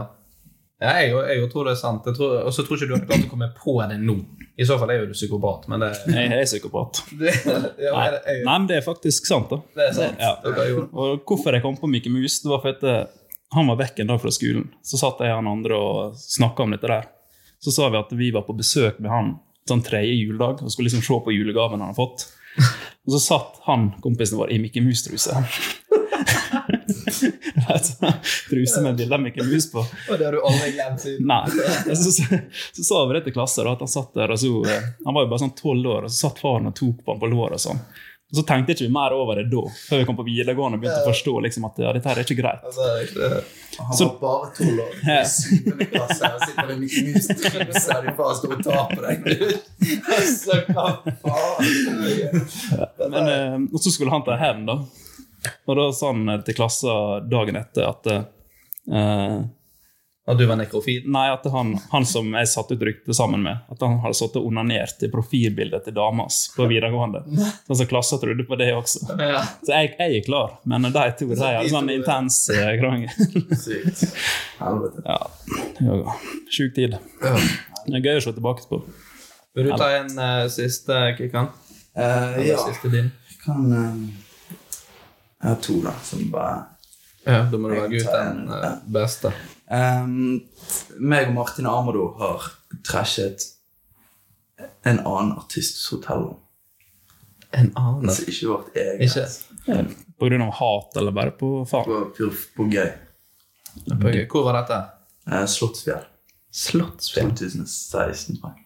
S2: ja jeg, jeg tror det er sant. Jeg tror- Og så tror ikke du hadde klart å komme på det nå. I så fall er jo du psykopat, men det,
S3: Jeg er psykopat.
S2: det, ja,
S3: Nei,
S2: men jeg-
S3: nei, men det er faktisk sant, da.
S2: det er sant.
S3: Ja.
S2: Dere gjorde
S3: Og hvorfor jeg kom på Mikke Mus, det var fordi han var vekk en dag fra skolen. Så satt jeg og han andre og snakka om dette der. Så sa vi at vi var på besøk med han sånn tredje juledag og skulle liksom se på julegaven han hadde fått. Og så satt han, kompisen vår, i Mikke Mus-truse. Det var en sånn Truse med bilde av Mikke Mus på.
S2: Og det har du aldri glemt siden.
S3: Nei. Så, så, så sa vi det til klassen, da, at han satt der, og så, eh, han var jo bare sånn tolv år, og så satt faren og tok på han på låret og sånn. Og så tenkte ikke vi mer over det da, før vi kom på videregående og begynte å forstå liksom, at ja, dette her er ikke greit.
S2: Altså, det-
S4: eh, Han
S3: Så-
S4: var bare tolv år.
S3: Ja.
S4: I syvende klasse og sitter med Mikke Mus truse, og de bare står og tar på deg.
S2: altså, hva faen?
S3: Men, eh, og så skulle han ta hevn, da. Og da sa han eh, til klassen dagen etter at eh,
S2: At du var nekrofil?
S3: Nei, at han, han som jeg satte ut rykte sammen med, at han hadde sittet og onanert i profilbildet til dama hans på videregående. Sånn som klassen trodde på det også.
S2: Ja.
S3: Så jeg, jeg er klar, men de to de har en sånn intens eh, krangel.
S4: Sykt. Helvete.
S3: Ja, ja. Sjuk tid. Det er gøy å se tilbake på.
S2: Vil du ta en eh, siste, Kikkan?
S4: Eh,
S2: Eller
S4: ja,
S2: siste din?
S4: kan eh, Jeg har to, da, som bare
S2: Ja, da må du velge ut den eh, beste.
S4: Ehm, meg og Martin Amado har trashet en annen artists hotellrom.
S2: En annen?
S4: Altså ikke vårt eget.
S2: Ikke?
S3: På grunn av hat eller bare på faen.
S4: På, på, på gøy.
S2: Ok, Hvor var dette?
S4: Eh, Slottsfjell.
S2: Slottsfjell.
S4: 2016. tror jeg.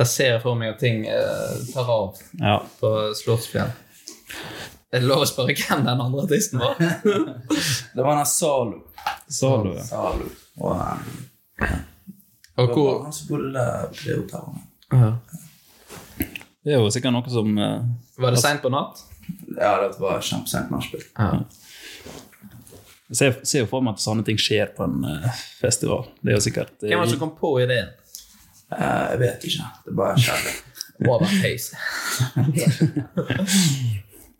S2: Der ser jeg for meg at ting eh, tar av
S3: Ja.
S2: på Slottsfjell. Er det lov å spørre hvem den andre artisten var?
S4: Det var han Zalo.
S3: Zalo, ja.
S4: Zalo. Og eh,
S2: Og
S4: det
S2: hvor
S4: var han som bodde der på det hotellet.
S2: ja.
S3: Det er jo sikkert noe som eh,
S2: Var det seint på natt?
S4: Ja, det var kjempesent nachspiel.
S2: Altså- Ja.
S3: Jeg ser, ser jo for meg at sånne ting skjer på en eh, festival. Det er jo sikkert eh,
S2: Hvem var det som kom på ideen?
S4: Eh, jeg vet ikke. Det bare skjedde.
S2: Over Pace.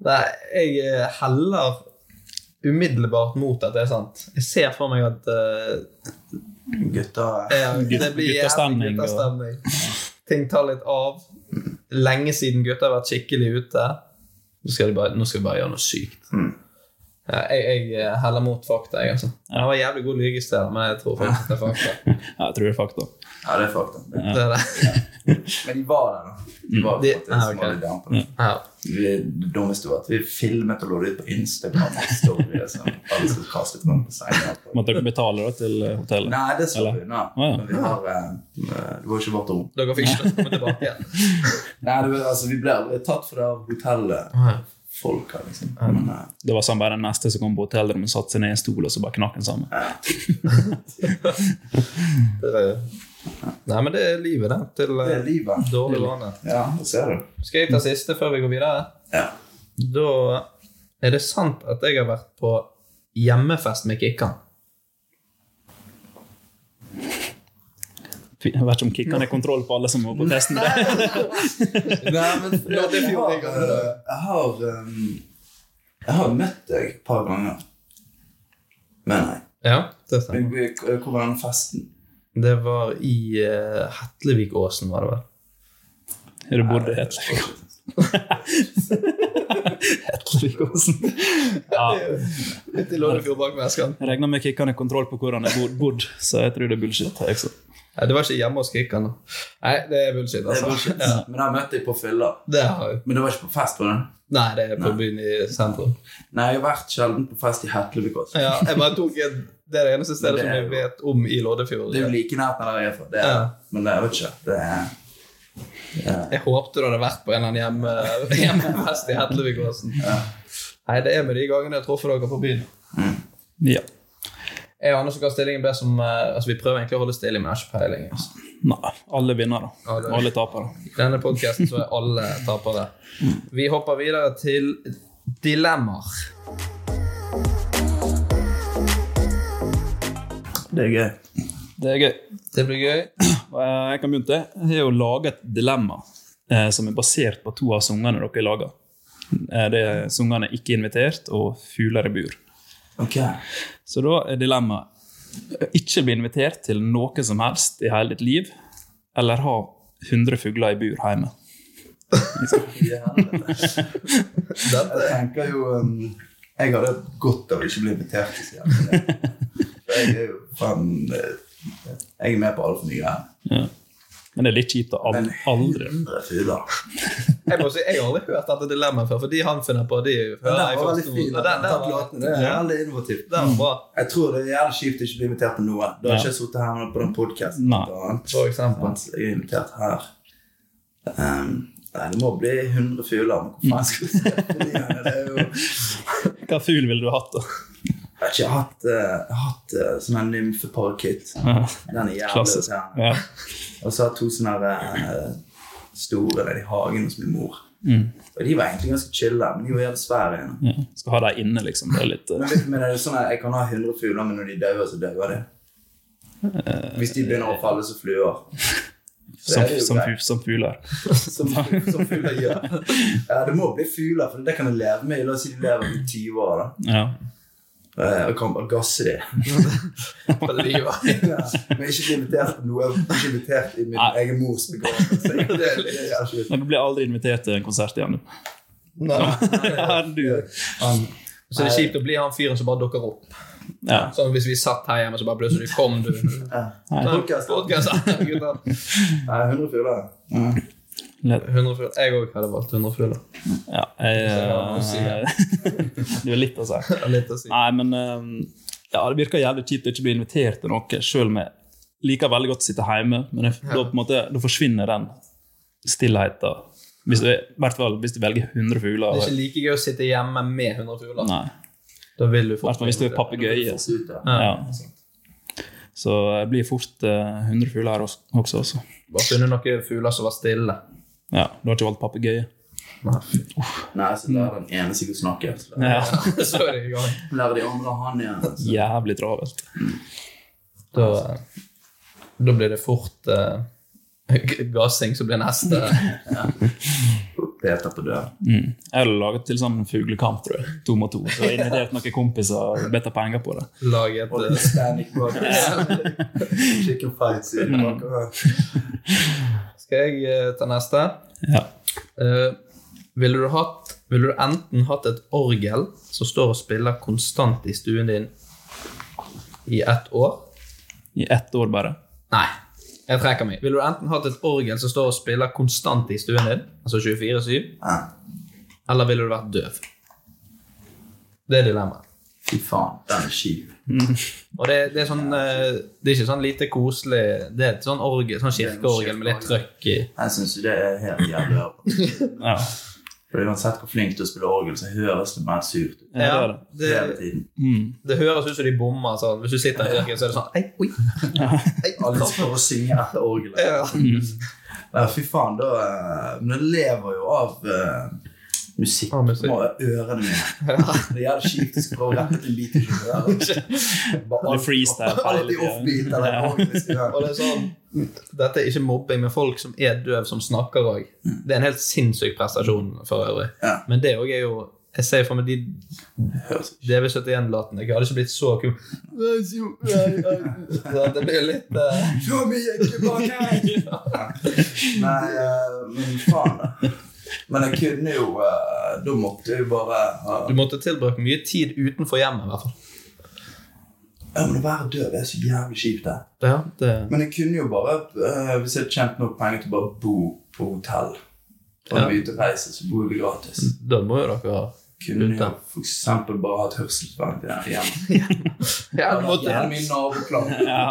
S2: Nei, jeg eh, heller umiddelbart mot at det er sant. Jeg ser for meg at eh,
S4: Gutter eh,
S2: Ja, det blir jævlig
S3: guttastemning, og-
S2: guttastemning. Ting tar litt av. Lenge siden gutter har vært skikkelig ute. Nå skal, de bare, nå skal vi bare gjøre noe sykt. Ja, jeg, jeg heller mot fakta, jeg, altså. Det var jævlig god lyge i sted, men jeg tror faktisk det er fakta.
S3: ja, Jeg tror det er fakta.
S4: Ja, det er fakta.
S2: Det er det.
S4: Men de var der, da. De var
S2: De-
S4: faktisk
S2: ah, ok.
S4: som hadde dampen.
S2: Ja.
S4: Vi, det dummeste var at vi filmet og lå det ut på Instagram. og Story, så alle skulle kaste et på senga.
S3: Måtte dere betale da, til eh, hotellet?
S4: Nei, det så vi
S3: Eller?
S4: unna.
S3: Å, ja.
S4: Men vi har, eh, Det var ikke vårt rom.
S2: Dere fikk ikke lov til å komme tilbake igjen.
S4: Nei, det, var- altså, Vi ble aldri tatt for det av hotellet. Folk her, liksom. Men, eh,
S3: Det var sånn bare den neste som kom på hotellrommet, satte seg ned i en stol og så bare knakk den sammen.
S2: Det er- Nei, men det er livet, det. Til eh,
S4: det er livet.
S2: dårlig vane.
S4: Ja, det ser du.
S2: Skal jeg ta siste før vi går videre?
S4: Ja.
S2: Da er det sant at jeg har vært på hjemmefest med Kikkan.
S3: Jeg vet ikke om kickene har kontroll på alle som må på testen.
S4: Nei, men jeg har, jeg har, um, jeg har møtt deg et par ganger. Men nei.
S2: Ja, det stemmer.
S4: Men vi- Hvor var den festen?
S2: Det var i eh, Hetlevikåsen, var det vel?
S3: Er det bodde Hetlevik? Hetlevikåsen. Ja.
S2: Ute i Lånefjord bak Veskan.
S3: Jeg regner med kickene har kontroll på hvor han er bod- bodd, så jeg tror det er bullshit. jeg også.
S2: Nei, det var ikke hjemme hos Kikkan. da. Nei, det er bullshit,
S4: Det
S2: altså.
S4: var shit.
S2: Ja,
S4: Men jeg møtte deg på fylla.
S2: det har jeg.
S4: Men det var ikke på fest? var det?
S2: Nei, det er på byen i sentrum.
S4: Nei, jeg har vært sjelden på fest i Hetlevik også.
S2: Ja, jeg bare tok en, Det er det eneste stedet
S4: Men det
S2: som
S4: er
S2: jeg
S4: jo-
S2: vet om i Loddefjord.
S4: Det er jo like nært der jeg er fra. Det er,
S2: Ja.
S4: Men det er jo ikke det er,
S2: Jeg håpte du hadde vært på en eller annen hjemme- hjemmefest i Hetlevikåsen. Nei, det er med de gangene jeg har truffet dere på byen.
S3: Ja.
S2: Jeg og Anders som kan stillingen best som eh, Altså, vi prøver egentlig å holde stilling, men jeg har ikke peiling. Altså.
S3: Nei, alle vinnere.
S2: Alle.
S3: Alle tapere.
S2: I denne podkasten så er alle tapere. Vi hopper videre til dilemmaer.
S4: det er gøy.
S3: Det er gøy.
S2: Det blir gøy.
S3: Eh, Jeg kan begynne. Jeg har jo laget et dilemma eh, som er basert på to av sangene dere lager. Eh, Det er sangene 'Ikke invitert' og 'Fugler i bur'.
S4: Ok.
S3: Så da er dilemmaet ikke bli invitert til noe som helst i hele ditt liv, eller ha 100 fugler i bur hjemme.
S4: Jeg tenker jo um, Jeg hadde godt av å ikke bli invitert til så jævlig. For Jeg er jo faen eh, Jeg er med på altfor mye greier.
S3: Men det er litt kjipt å al-
S4: Men
S3: aldri
S4: 100 fugler.
S2: Jeg må si, jeg har aldri hørt dette dilemmaet før, for de han finner på, de
S4: Den
S2: hører jeg
S4: var
S2: først
S4: veldig
S2: nå.
S4: fin.
S2: Ja,
S4: Den,
S2: den- den
S4: den
S2: var-
S4: platen, det er
S2: ja,
S4: veldig innovativt.
S2: Den var bra,
S4: Jeg tror det er jævlig kjipt å ikke bli invitert på noe. Da har
S3: Ja.
S4: ikke jeg sittet her på den podkasten.
S3: Nei.
S2: for eksempel.
S4: mens jeg er invitert her. Um, nei, det må bli 100 fugler. Men hvor faen skal vi se på de her? Det er jo...
S3: Hva fugl ville du hatt, da?
S4: Jeg har ikke hatt, eh, jeg har hatt eh, sånn her nymfeparakit.
S3: Ja.
S4: Den er jævlig
S3: Klassisk.
S4: irriterende.
S3: Ja.
S4: Og så har jeg to sånne her, eh, store nede i hagen hos min mor.
S3: Mm.
S4: Og de var egentlig ganske chille, men de var jævlig svære igjen.
S3: Ja. Skal ha deg inne, liksom. Det er litt eh,
S4: Men det er sånn at jeg kan ha 100 fugler, men når de dauer, så dauer de. Hvis de begynner å falle som fluer.
S3: som,
S4: det er jo
S3: som,
S4: greit.
S3: fu- som fugler.
S4: Som, som fugler gjør. Ja, det må bli fugler, for det kan jeg leve med. La oss si de lever i 20 år. da.
S3: Ja.
S4: Eh, Og kan bare gasse de.
S2: For livet.
S4: Ja, Men ikke bli invitert på noe. Ikke invitert i min
S3: Nei.
S4: egen mors begravelse. Det- det er ikke-
S3: Men du blir aldri invitert til en konsert igjen, du.
S2: Nei.
S3: Ja, du.
S2: Så det er kjipt å bli han fyren som bare dukker opp.
S3: Ja.
S2: Sånn Hvis vi satt her hjemme, så bare plutselig kom du.
S4: Podcast.
S2: Podcast, gutter.
S4: Nei, 100 fugler.
S3: Litt-
S2: 100 fugler. Jeg òg hadde valgt 100 fugler.
S3: ja. Jeg, eh, du er litt å si.
S2: Det er litt å si.
S3: Nei, men eh, ja, det virker jævlig kjipt å ikke bli invitert til noe, selv om jeg liker veldig godt å sitte hjemme. Men jeg, da, på en måte, da forsvinner den stillheten. Hvis du, er- I hvert fall hvis du velger 100
S2: Det er
S3: fugler.
S2: ikke like gøy å sitte hjemme med 100 fugler.
S3: Nei.
S2: Da vil du
S3: I hvert fall hvis du er papegøye. så-
S4: Ut, da.
S3: Ja. Så jeg blir fort eh, 100 fugler her også. også.
S2: Bare funnet noen fugler som var stille.
S3: Ja, du har ikke valgt papegøye?
S4: Nei, så lærer den ene seg å snakke. Så
S3: Ja.
S2: Så er det i gang.
S4: lærer de andre han igjen.
S3: Jævlig travelt.
S2: Da, eh, da blir det fort eh, g- gassing som blir neste.
S4: Peter på døren.
S3: Jeg hadde laget til sånn fuglekamp, tror jeg. To mot to. Så jeg inviterte noen kompiser og bedt om penger på det.
S2: Lag et
S4: Og
S2: eh,
S4: litt Hispanic brothers. Chicken fights. i
S3: Mm.
S4: bakover.
S2: Skal jeg eh, ta neste?
S3: Ja.
S2: Eh, ville, du hatt, ville du enten hatt et orgel som står og spiller konstant i stuen din i ett år?
S3: I ett år bare.
S2: Nei, jeg trekker meg. Ville du enten hatt et orgel som står og spiller konstant i stuen din, altså 24-7,
S4: Ja.
S2: eller ville du vært døv? Det er dilemmaet.
S4: Fy faen, den er kjip.
S3: Mm.
S2: Og det, det, er sånn, eh, det er ikke sånn lite koselig Det er et sånn, orgel, sånn kirkeorgel med litt trøkk i.
S4: Jeg syns jo det er helt jævlig. å høre på.
S3: Ja.
S4: For Uansett hvor flink du er til å spille orgel, så høres det mer surt ut.
S3: Ja, det er
S2: Ja,
S3: det.
S2: det,
S4: Hele tiden.
S2: det høres ut som de bommer. Sånn. Hvis du sitter i kirken, så er det sånn ei, oi, ei,
S4: Alle står og synger etter orgelet.
S2: Ja.
S4: Ja, fy faen, da eh, Men jeg lever jo av eh, musikk.
S2: Av musikk.
S4: Må ha ørene mine. Det er jævlig kjipt å skulle prøve å rappe til en beat. i kjøret. Bare
S3: Eller freestyle.
S4: altså. Alltid offbeat eller
S3: Ja.
S4: orgel, liksom.
S2: Og det er sånn Dette er ikke mobbing, men folk som er døv, som snakker òg. Det er en helt sinnssyk prestasjon for øvrig.
S4: Ja.
S2: Men det òg er jo Jeg ser for meg de DV71-latene. Jeg hadde ikke blitt så kul. Så det blir litt eh,
S4: Slå meg ikke bak her! Nei, eh, men faen, da. Men jeg kunne jo eh, Da måtte jeg jo bare ha-
S2: Du måtte tilbrakt mye tid utenfor hjemmet, i hvert fall.
S4: Ja, men Å være døv er så jævlig kjipt, det.
S2: Ja, det,
S4: Men jeg kunne jo bare, eh, hvis jeg hadde tjent nok penger til å bare bo på hotell og
S2: Ja. Mm.
S4: ja. ute og reise, så bor vi gratis.
S2: da må jo dere
S4: Kunne
S2: Ute.
S4: jo for eksempel bare hatt hørselsvern til den igjen.
S2: ja, du
S4: Det er
S2: måtte,
S4: min naboplan.
S3: Ja.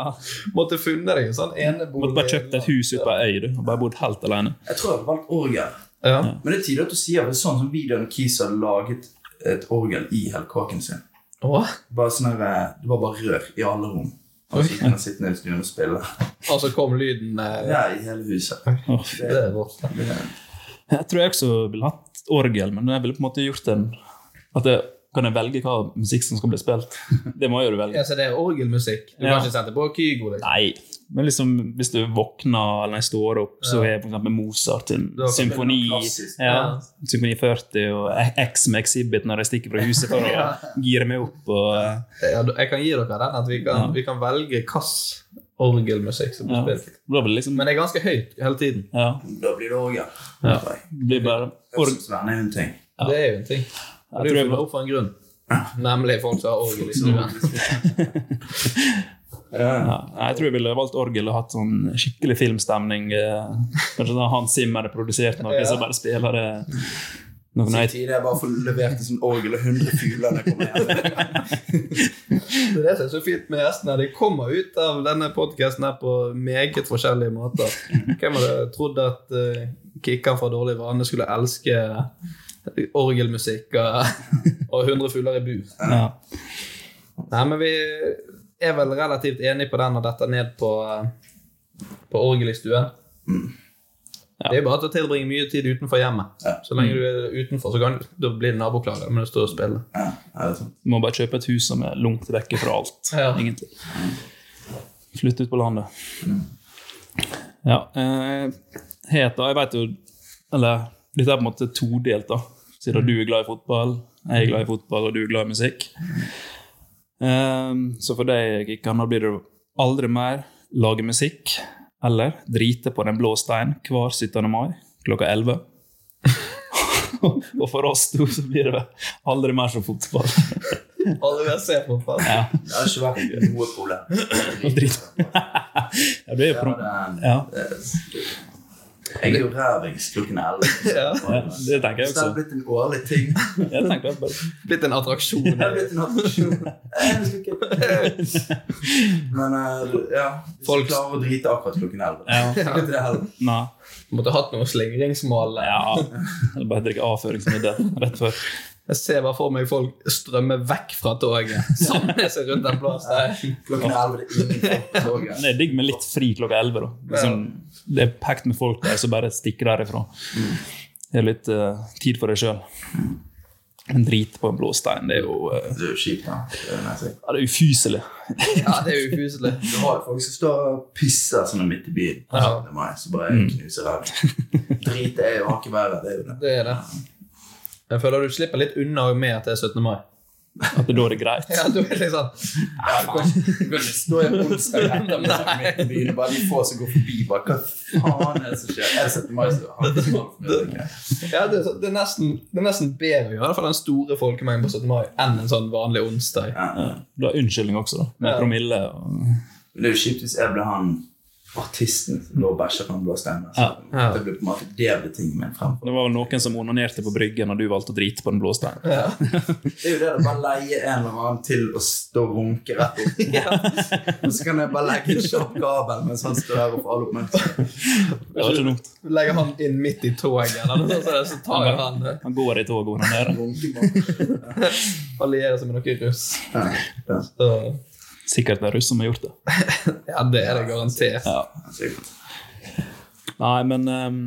S2: måtte funnet deg en sånn enebolig
S3: Måtte bare kjøpt et hus ute på ei du, og bare bodd helt alene.
S4: Jeg tror jeg hadde valgt orgel.
S2: Ja.
S4: Men det er tidlig at du sier det er sånn som videoen Kis hadde laget et orgel i helkaken sin.
S2: Å,
S4: Bare sånn her, eh, Det var bare rør i alle rom. Altså, Og så kunne han sitte ned i stuen og spille.
S2: Og så kom lyden eh,
S4: Ja, i hele huset.
S3: Åh.
S2: Det er vårt.
S3: Jeg tror jeg også ville hatt orgel, men jeg ville på en måte gjort en At jeg kan jeg velge hva musikk som skal bli spilt. Det må jo du velge.
S2: Ja, så det er orgelmusikk. Du
S3: Ja.
S2: kan ikke sette på Kygo. Liksom.
S3: Nei. Men liksom, hvis du våkner eller står opp, så er for eksempel Mozart en
S2: Da kan
S3: symfoni,
S4: det være klassisk.
S3: ja, symfoni 40 og X med Exhibit når jeg stikker fra huset for å gire meg opp. Og,
S2: Ja, da- jeg kan gi dere den, at vi kan, vi kan velge hvilken orgelmusikk som blir
S3: ja.
S2: spilt.
S3: Da blir det liksom
S2: Men det er ganske høyt hele tiden.
S3: ja,
S4: Da blir det orgel.
S3: ja, det blir bare org...
S4: Hørselsvern er jo en ting.
S2: Det er jo en ting.
S3: Jeg
S2: Og det er
S3: tror
S2: jo
S3: jeg
S2: funnet opp for en grunn. Nemlig folk som har orgel i stuen.
S3: Ja, jeg tror jeg ville valgt orgel og hatt sånn skikkelig filmstemning. eh, Kanskje sånn Hans Zimmer hadde produsert noe, så bare spiller det noen
S4: Sin
S3: nei,
S4: tid er bare å få levert en sånn orgel og 100 fugler når jeg kommer hjem.
S2: Det er det som er så fint med gjestene. De kommer ut av denne podkasten på meget forskjellige måter. Hvem hadde trodd at uh, Kikkan fra Dårlig vane skulle elske orgelmusikk og, og 100 fugler i bur?
S3: ja.
S2: Nei, men vi er vel relativt enige på den og dette ned på, eh, på orgel i stuen. Det er jo bare til å tilbringe mye tid utenfor hjemmet. Så lenge du er utenfor, så kan, da blir det naboklager. Men du står og spiller.
S4: Ja, er det sånn?
S3: Du må bare kjøpe et hus som er langt vekk fra alt,
S2: Ja.
S3: egentlig. Flytte ut på landet. Ja. Eh, het da, jeg vet jo Eller dette er på en måte todelt, da. Siden du er glad i fotball, jeg er glad i fotball, og du er glad i musikk. Eh, så for deg, Kikkan, da blir det aldri mer lage musikk eller drite på den blå stein hver 17. mai klokka 11. og for oss to så blir det aldri mer som fotball.
S2: Alle vil se på fast.
S3: ja.
S4: Det har ikke vært noe problem.
S3: Og drit. ja, det er jo pro ja.
S4: eh, Jeg er jo rævings klokken 11.
S2: Ja.
S3: ja, det altså. tenker jeg
S4: Så det har
S3: også.
S4: blitt en årlig ting.
S3: Jeg tenker at bare,
S2: Blitt en attraksjon.
S4: Det har blitt en attraksjon. Eh, jeg skal ikke- Men eh, ja, hvis
S2: Folk-
S4: du klarer å drite akkurat klokken 11.
S3: Ja.
S4: så er det det heller.
S3: nei,
S2: Måtte hatt noe slingringsmål.
S3: ja. Eller bare drikke avføringsmiddel rett før.
S2: Jeg ser bare for meg folk strømme vekk fra toget. Samle seg rundt en plass der.
S4: Klokken 11 er ingen folk på
S3: Men
S4: toget.
S3: det er digg med litt fri klokka 11. Da. Liksom, det er pekt med folk der, så bare stikker derifra. Det er litt eh, tid for deg sjøl. En drit på en blå stein, det er jo eh,
S4: Det er jo kjipt, da. Det er nesten-
S3: ja, det er ufyselig.
S2: Ja, det er jo ufyselig.
S4: Du har jo folk som står og pisser sånn midt i byen.
S2: Ja. Mm.
S4: Det er meg, så bare jeg knuser ræven. Drit er jo hakket verre. Det er jo det.
S2: Det er det. Jeg føler du slipper litt unna med at det er 17. mai.
S3: At det da er det greit.
S2: Ja, du er litt sånn
S4: Ja, du kan ikke- du kan ikke stå i en onsdag ettermiddag midt i byen og bare de få som går forbi, bare Hva faen er det som skjer? Er det 17. mai, så har vi ikke noe for det, ok.
S2: Ja, det, er så- det, er nesten, det er nesten bedre å gjøre det for den store folkemengden på 17. mai enn en sånn vanlig onsdag.
S4: Ja.
S3: Du har unnskyldning også, da. Med
S2: Ja.
S3: promille og
S4: Men det er jo kjipt hvis jeg ble han artisten som lå og bæsja på en blå stemme.
S3: Ja.
S2: Ja.
S4: Det ble på en måte det ble tingen min fremfor.
S3: Det var vel noen som onanerte på bryggen, og du valgte å drite på den blå steinen.
S4: Det er jo det å bare leie en eller annen til å stå og runke rett opp. Og så kan jeg bare legge en kjapp kabel mens han står der og får all oppmerksomhet.
S3: Det var ikke dumt.
S2: Legger han inn midt i toget, eller noe sånt, så tar jeg han eh,
S3: Han går i toget og onanerer.
S4: Runkemann.
S2: allierer seg med noen russ.
S4: Ja. Ja.
S2: Så,
S3: Sikkert det er russ som har gjort det.
S2: ja, det er det garantert.
S3: Ja.
S4: sikkert.
S3: Nei, men ehm,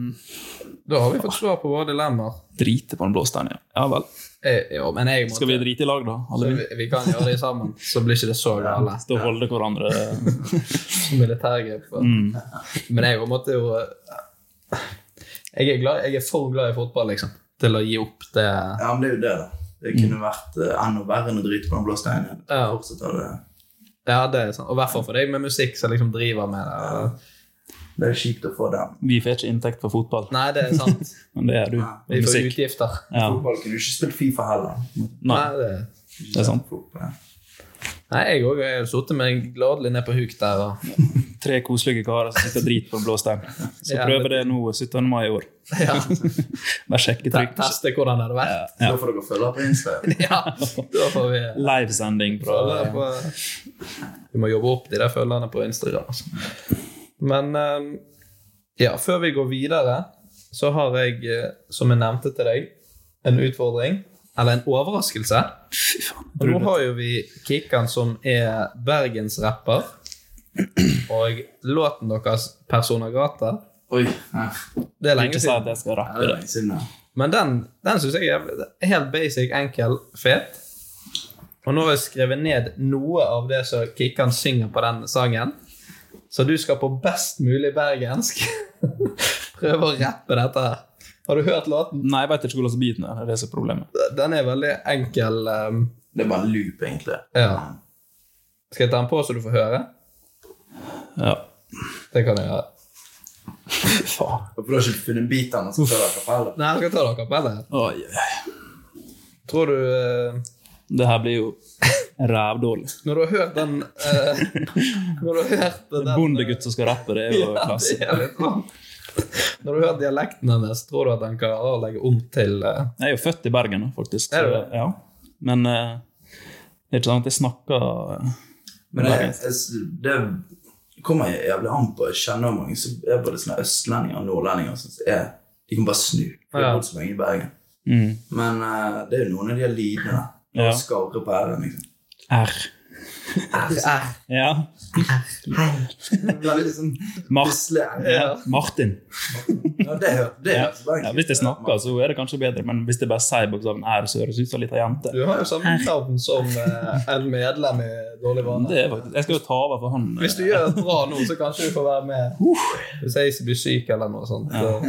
S2: Da har vi fått svar på våre dilemmaer.
S3: Drite på den blå steinen, ja. Ja vel.
S2: Eh, jo, men jeg måtte,
S3: Skal vi drite i lag, da?
S2: så
S3: Alle vi?
S2: vi, vi kan gjøre det sammen, så blir ikke det så gale.
S3: Da holder hverandre
S2: Militærgrep.
S3: mm.
S2: Men jeg måtte jo jeg er, glad, jeg er for glad i fotball, liksom, til å gi opp det
S4: Ja, men det er jo det, da. Det kunne vært eh, enda verre enn å drite på den blå steinen.
S2: Ja.
S4: Fortsatt er det-
S2: Ja, det er sant. Og i hvert fall for deg med musikk som liksom driver med det.
S4: Det er kjipt å få den.
S3: Vi får ikke inntekt for fotball,
S2: Nei, det er sant.
S3: men det er du.
S2: Vi får
S3: Musikk.
S2: utgifter.
S3: Ja.
S4: Fotball kunne du ikke spilt Fifa heller.
S3: Nei,
S2: Nei, det,
S3: det er sant.
S4: Fotball, ja.
S2: nei jeg òg har sittet meg gladelig ned på huk der. Og,
S3: Tre koselige karer som sitter og driter på den blå steinen. Så
S2: Ja,
S3: prøver
S2: men-
S3: det nå 17. mai i år.
S2: ja,
S3: Bare sjekke
S2: te-
S3: trykk.
S2: teste hvordan det hadde vært.
S4: Da får dere følge på Insta.
S2: Ja, da får vi
S3: Livesending fra
S2: følge på Vi må jobbe opp de der følgerne på Instagram. Altså. Men eh, ja, før vi går videre, så har jeg, eh, som jeg nevnte til deg, en utfordring. Eller en overraskelse. Og nå har jo vi Kikkan, som er bergensrapper. Og låten deres 'Persona Grata'
S4: Oi. Ja, det
S2: Det er lenge
S3: Ikke si
S2: siden.
S3: at jeg skal rappe
S4: er
S3: det.
S4: lenge siden. ja.
S2: Men den, den syns jeg er jævlig- er helt basic, enkel, fet. Og nå har jeg skrevet ned noe av det som Kikkan synger på den sangen. Så du skal på best mulig bergensk prøve å rappe dette her. Har du hørt låten?
S3: Nei, jeg vet ikke hvordan biten er. Det er det som er problemet.
S2: Den er veldig enkel. ehm,
S4: Det er bare en loop, egentlig.
S2: Ja. Skal jeg ta den på så du får høre?
S3: Ja.
S2: Det kan jeg gjøre.
S3: Faen.
S4: Hvorfor du har ikke funnet biten og så tar dere på heller?
S2: Nei, jeg skal ta det a cappella.
S3: Oi, oi, oi.
S2: Tror du eh,
S3: Det her blir jo rævdårlig.
S2: Når du har hørt den eh, Når du har hørt den eh,
S3: Bondegutt som skal rappe, det er jo klasse.
S2: det er litt sånn. Når du hører dialekten hennes, tror du at han klarer å legge om til eh,
S3: Jeg er jo født i Bergen, faktisk.
S2: Er du
S3: så-
S2: det?
S3: Ja. Men eh, det er ikke sånn at jeg snakker eh,
S4: Men jeg, jeg, det kommer jeg jævlig an på. Jeg kjenner mange som er både sånne østlendinger og nordlendinger. Sånn, som er, de kan bare snu. for Det
S2: Ja.
S4: er bodd så lenge i Bergen.
S3: mm,
S4: Men eh, det er jo noen av de her lydene.
S3: Ja.
S4: Ja. Skarre på r-en. Liksom.
S3: R.
S2: R.
S3: Ja.
S4: Veldig sånn
S3: Mars.
S4: plutselig
S3: Ja.
S4: R.
S3: Martin.
S4: Ja, det hører det
S3: Ja.
S4: hører til Bergen.
S3: Ja, hvis jeg snakker, så er det kanskje bedre, men hvis jeg bare sier bokstaven R, så høres det ut som ei lita jente.
S2: Du har jo samme navn som eh, en medlem i Dårlig vane.
S3: Det er faktisk, jeg skal jo ta over for han. eh,
S2: Hvis du gjør det bra nå, så kanskje du får være med. Hvis jeg blir syk eller noe sånt. så-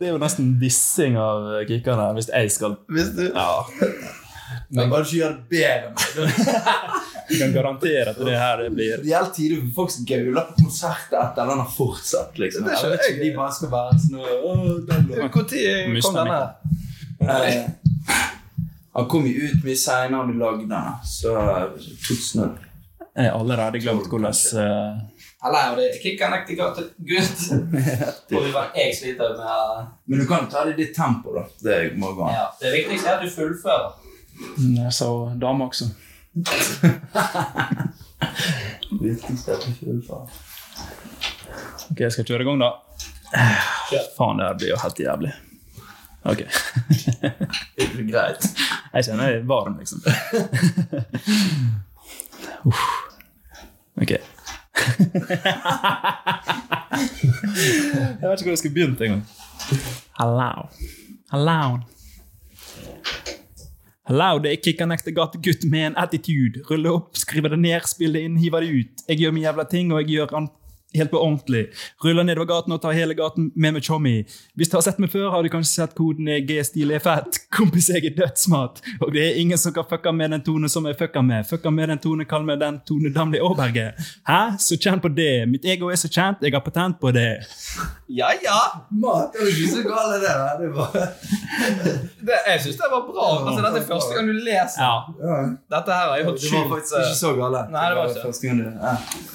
S3: Det er jo nesten dissing av kickerne hvis jeg skal
S2: Hvis du
S3: Ja.
S4: Men bare ikke gjør det bedre. men Det er
S3: Jeg kan garantere at det her det blir
S4: reelt tid for folk som gauler på konsert etter den har fortsatt. Liksom.
S2: Det er ikke-
S4: Jeg vet ikke, de bare skal være sånn «Åh, den lå».
S2: Når kom denne? her?
S4: Eh, Han kom jo ut mye seinere enn vi lagde den. da. Så eh, 2000
S3: Jeg har allerede glemt hvordan eh,
S2: Eller er det Kikkan ekte gutt? Får vi være jeg sliter med
S4: Men du kan jo ta det i ditt tempo, da. Det må gå an.
S2: Det viktigste er at du fullfører.
S3: Jeg sa eh, dame også.
S4: Viktigste er at du fullfører.
S3: Ok, jeg skal kjøre i gang, da. Faen, det her blir jo helt jævlig. Ok.
S4: Det blir greit.
S3: Jeg kjenner jeg er varm, liksom. Uff. Ok. jeg vet ikke hvor jeg skulle begynt engang. Hello. Hello. Hello, det er kickanekte gategutt med en attitude. Rulle opp, skrive det ned, spille det inn, hive det ut. Jeg gjør min jævla ting, og jeg gjør den helt på ordentlig. Ruller nedover gaten og tar hele gaten med meg chommy. Hvis du har sett meg før, har du kanskje sett koden er G-stil er fett. Kompis, jeg er dødsmat. Og det er ingen som kan fucka med den tonen som jeg fucka med. Fucka med den tonen, kall meg den tone Damli Aaberge. Hæ? Så kjent på det. Mitt ego er så kjent, jeg har patent på det.
S2: Ja, ja.
S4: Mat er jo ikke så gal, det der. Det er bare
S2: Det, jeg syns det var bra. Altså, dette er første gang du leser.
S3: Ja.
S2: Dette her har jeg hørt
S4: Det var faktisk
S2: sjukt.
S4: ikke så gale.
S2: eh, Nei, det var ikke.
S4: første gang du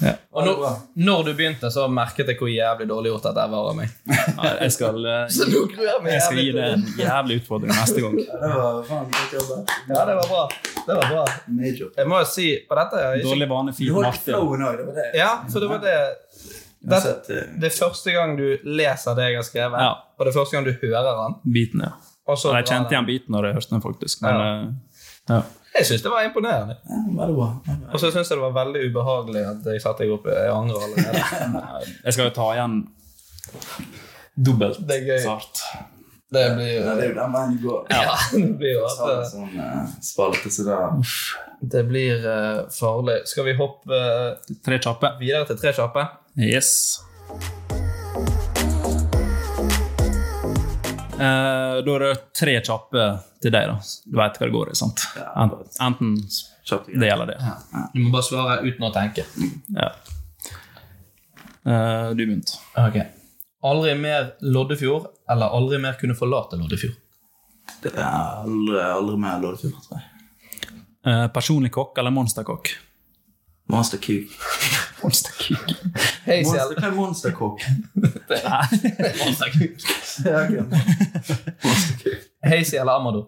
S4: ja.
S2: Og når, når du begynte, så merket jeg hvor jævlig dårlig gjort dette var av meg.
S3: Jeg skal, eh,
S2: Så nå gruer jeg meg
S3: jeg skal
S2: jævlig
S3: gi
S2: til
S3: det
S2: det.
S3: en jævlig utfordring neste gang.
S4: Det var faen godt jobba.
S2: Ja, det var bra. Det var bra.
S4: Major.
S2: Jeg må jo si på dette er jeg ikke,
S3: Dårlig vane,
S4: Du
S3: fin
S4: holdt
S3: Martin.
S4: flowen òg, det var det.
S2: Ja, for det var det det,
S4: Uansett, eh,
S2: det er første gang du leser det jeg har skrevet,
S3: Ja.
S2: og det er første gang du hører den.
S3: Biten, ja.
S2: Og så
S3: Nei,
S2: drar
S3: jeg kjente
S2: den.
S3: igjen biten når jeg hørte den, faktisk. Men, eh, ja.
S2: Jeg syns det var imponerende.
S4: ja, Veldig bra.
S2: Og så syns jeg det var veldig eh, ubehagelig at jeg satte deg opp i angre allerede.
S3: Jeg skal jo ta igjen Dobbelt
S2: Det er gøy.
S3: sart.
S2: Det blir
S4: Ja, det er jo den veien du går.
S2: Ja, det blir jo
S4: Så har du
S2: at
S4: sånn eh, spalte, så da
S2: det blir eh, farlig. Skal vi hoppe eh,
S3: Tre kjappe.
S2: videre til tre kjappe?
S3: Yes. Eh, da er det tre kjappe til deg, da. Du veit hva det går i, sant? Ent- Enten
S4: Kjapt og
S3: det
S4: greit.
S3: gjelder det.
S2: Du må bare svare uten å tenke.
S3: Ja. Eh, du begynte.
S2: Ok. Aldri mer Loddefjord, eller aldri mer kunne forlate Loddefjord.
S4: Det er aldri, aldri mer Loddefjord, tror jeg.
S3: Eh, personlig kokk eller monsterkokk?
S4: Monster Cook.
S3: Monsterkokk.
S2: Hei,
S4: Monster, hva er Monster Cook?
S2: Hazy eller Amado?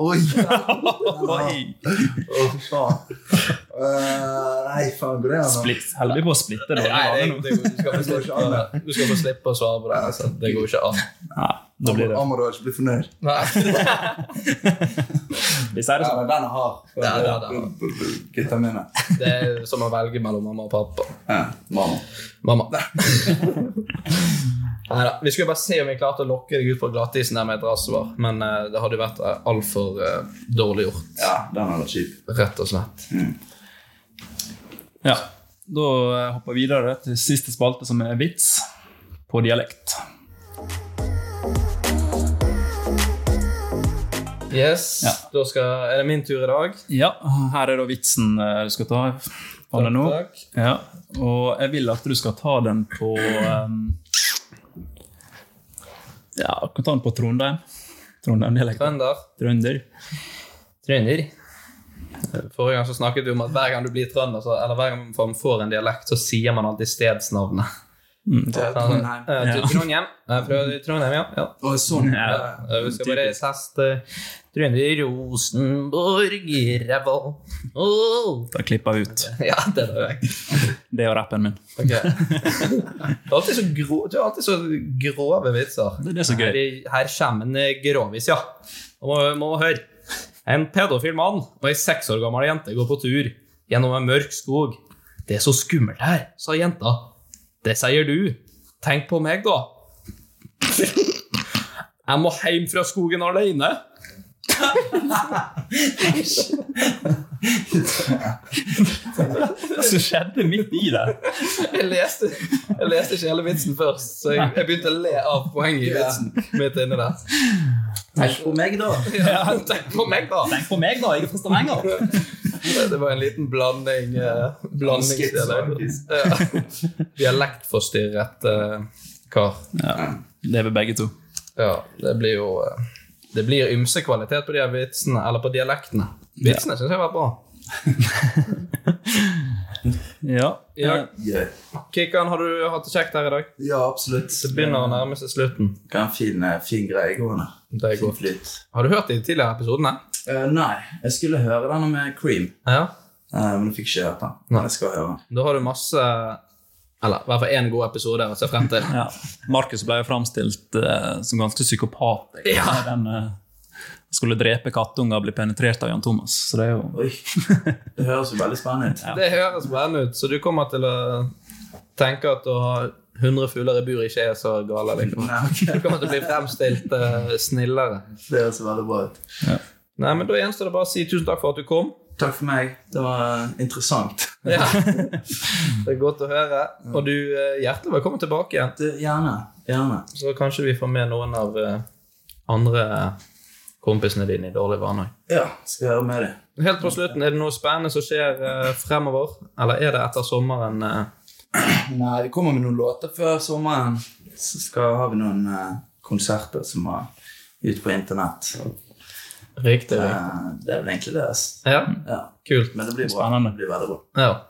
S4: Oi! Å, fy faen. Eh, nei, faen, går det an? da?
S3: Splitt. Heldig på å splitte. Da.
S2: du skal få slippe, du skal få slippe å svare på det. Altså. Det går ikke an.
S3: ja, da blir det.
S4: Amor har ikke blitt fornøyd.
S2: Nei.
S3: Hvis jeg
S4: Ja,
S3: er det sånn.
S4: men den er hard.
S2: Ja, den er hard.
S4: Gutta mine.
S2: Det er som å velge mellom mamma og pappa.
S4: Ja, mamma.
S2: Mamma. Neida, Vi skulle bare se om vi klarte å lokke deg ut på glattisen der med et rasvar, men eh, det hadde jo vært eh, altfor eh, dårlig gjort.
S4: Ja, den er litt kjip.
S2: Rett og slett.
S3: Ja. Da eh, hopper vi videre til siste spalte, som er vits på dialekt.
S2: Yes,
S3: Ja.
S2: da skal, er det min tur i dag.
S3: Ja, her er da vitsen eh, du skal ta. Anne, nå.
S2: Takk,
S3: Ja, og jeg vil at du skal ta den på ehm, Ja, du kan ta den på Trondheim. Trondheim-dialekt.
S2: Trønder.
S3: Trønder.
S2: Trønder. Forrige gang så snakket vi om at hver gang du blir trønder, så, eller hver gang man får en dialekt, så sier man alltid stedsnavnet.
S4: Trondheim.
S2: Eh,
S3: Mm.
S2: til
S3: Ja. Mm.
S2: Trondheim. Nei, fra Trondheim, ja. ja.
S4: Å, sånn.
S3: Ja.
S2: Ja, vi skal bare teste Trønder, Rosenborg, Revoll Åh!
S3: Da klipper vi ut.
S2: Ja, den er vekk.
S3: Det er jo rappen min.
S2: Ok. Du er alltid så, grå, du er alltid så grove vitser.
S3: Det er det som er gøy.
S2: Her, her kommer en eh, gråvis, ja. Nå må, må vi høre. En pedofil mann og ei seks år gammel jente går på tur gjennom en mørk skog. Det er så skummelt her, sa jenta. Det sier du. Tenk på meg, da. Jeg må hjem fra skogen alene.
S3: Hva som skjedde midt i der?
S2: Jeg leste, jeg leste ikke hele vitsen først, så jeg, jeg begynte å le av poenget i vitsen. midt inne der.
S4: Tenk på meg, da.
S2: Ja, tenk på meg, da!
S3: Tenk på meg, da. Jeg er fra Stavanger.
S2: Det var en liten blanding. eh, blandingsdialekt. Ja. Dialektforstyrret eh, kar.
S3: Det er vi begge to.
S2: Ja, det blir jo eh, Det blir ymse kvalitet på de her vitsene, eller på dialektene. Vitsene synes syns jeg har vært bra.
S3: Ja.
S2: Ja.
S3: eh,
S4: Gøy.
S2: Kikkan, har du hatt det kjekt her i dag?
S4: Ja, absolutt.
S2: Det begynner å nærme seg slutten.
S4: Hva en fin, eh, fin greie gående.
S2: Det er
S4: Fin
S2: godt.
S4: flyt.
S2: Har du hørt de tidligere episodene?
S4: Eh, nei, jeg skulle høre denne med Cream,
S2: Ja.
S4: Eh, men jeg fikk ikke hørt den.
S2: Nei.
S4: Men jeg skal høre den.
S2: Da har du masse Eller i hvert fall én god episode å se frem til.
S3: ja. Markus ble jo framstilt eh, som ganske psykopat. egentlig.
S2: Ja.
S3: Den eh, skulle drepe kattunger og bli penetrert av Jan Thomas. Så det er jo
S4: Oi, det høres jo veldig spennende ut.
S2: Det høres spennende ut, så du kommer til å tenke at å ha 100 fugler i bur ikke er så gale. Liksom.
S4: Nei, ok.
S2: Du kommer til å bli fremstilt eh, snillere.
S4: Det høres veldig bra ut.
S2: Nei, men Da gjenstår det bare å si tusen takk for at du kom.
S4: Takk for meg. Det var eh, interessant.
S2: Ja. Det er godt å høre. Og du, eh, hjertelig velkommen tilbake igjen.
S4: Du, eh, gjerne. Gjerne.
S2: Så kanskje vi får med noen av eh, andre kompisene dine i Dårlig vane.
S4: Ja, skal jeg høre med deg.
S2: Helt på slutten, er det noe spennende som skjer eh, fremover? Eller er det etter sommeren? eh,
S4: Nei, vi kommer med noen låter før sommeren. Så skal, har vi noen eh, konserter som er ute på internett.
S2: riktig, riktig.
S4: Eh, det er vel egentlig det. ass.
S2: Ja,
S4: Ja.
S2: kult.
S4: Men det blir bra.
S3: Spennende.
S4: Det blir veldig bra.
S2: Ja.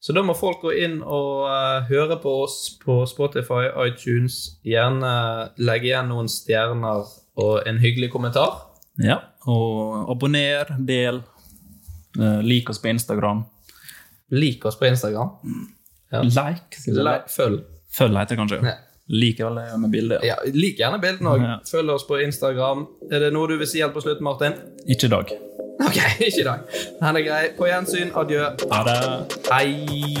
S2: Så da må folk gå inn og eh, høre på oss på Spotify, iTunes. Gjerne legge igjen noen stjerner og en hyggelig kommentar.
S3: Ja, og abonner, del, eh, lik oss på Instagram.
S2: Lik oss på Instagram. Ja.
S3: Like, skal vi si.
S2: Like, følg.
S3: Følg heter det kanskje.
S2: Ja.
S3: Lik er vel det med bildet.
S2: Ja, lik gjerne bildene òg.
S3: Ja.
S2: Følg oss på Instagram. Er det noe du vil si helt på slutten, Martin?
S3: Ikke i dag.
S2: Ok, ikke i dag. Den er grei. På gjensyn. Adjø.
S3: Ha det.
S2: Hei.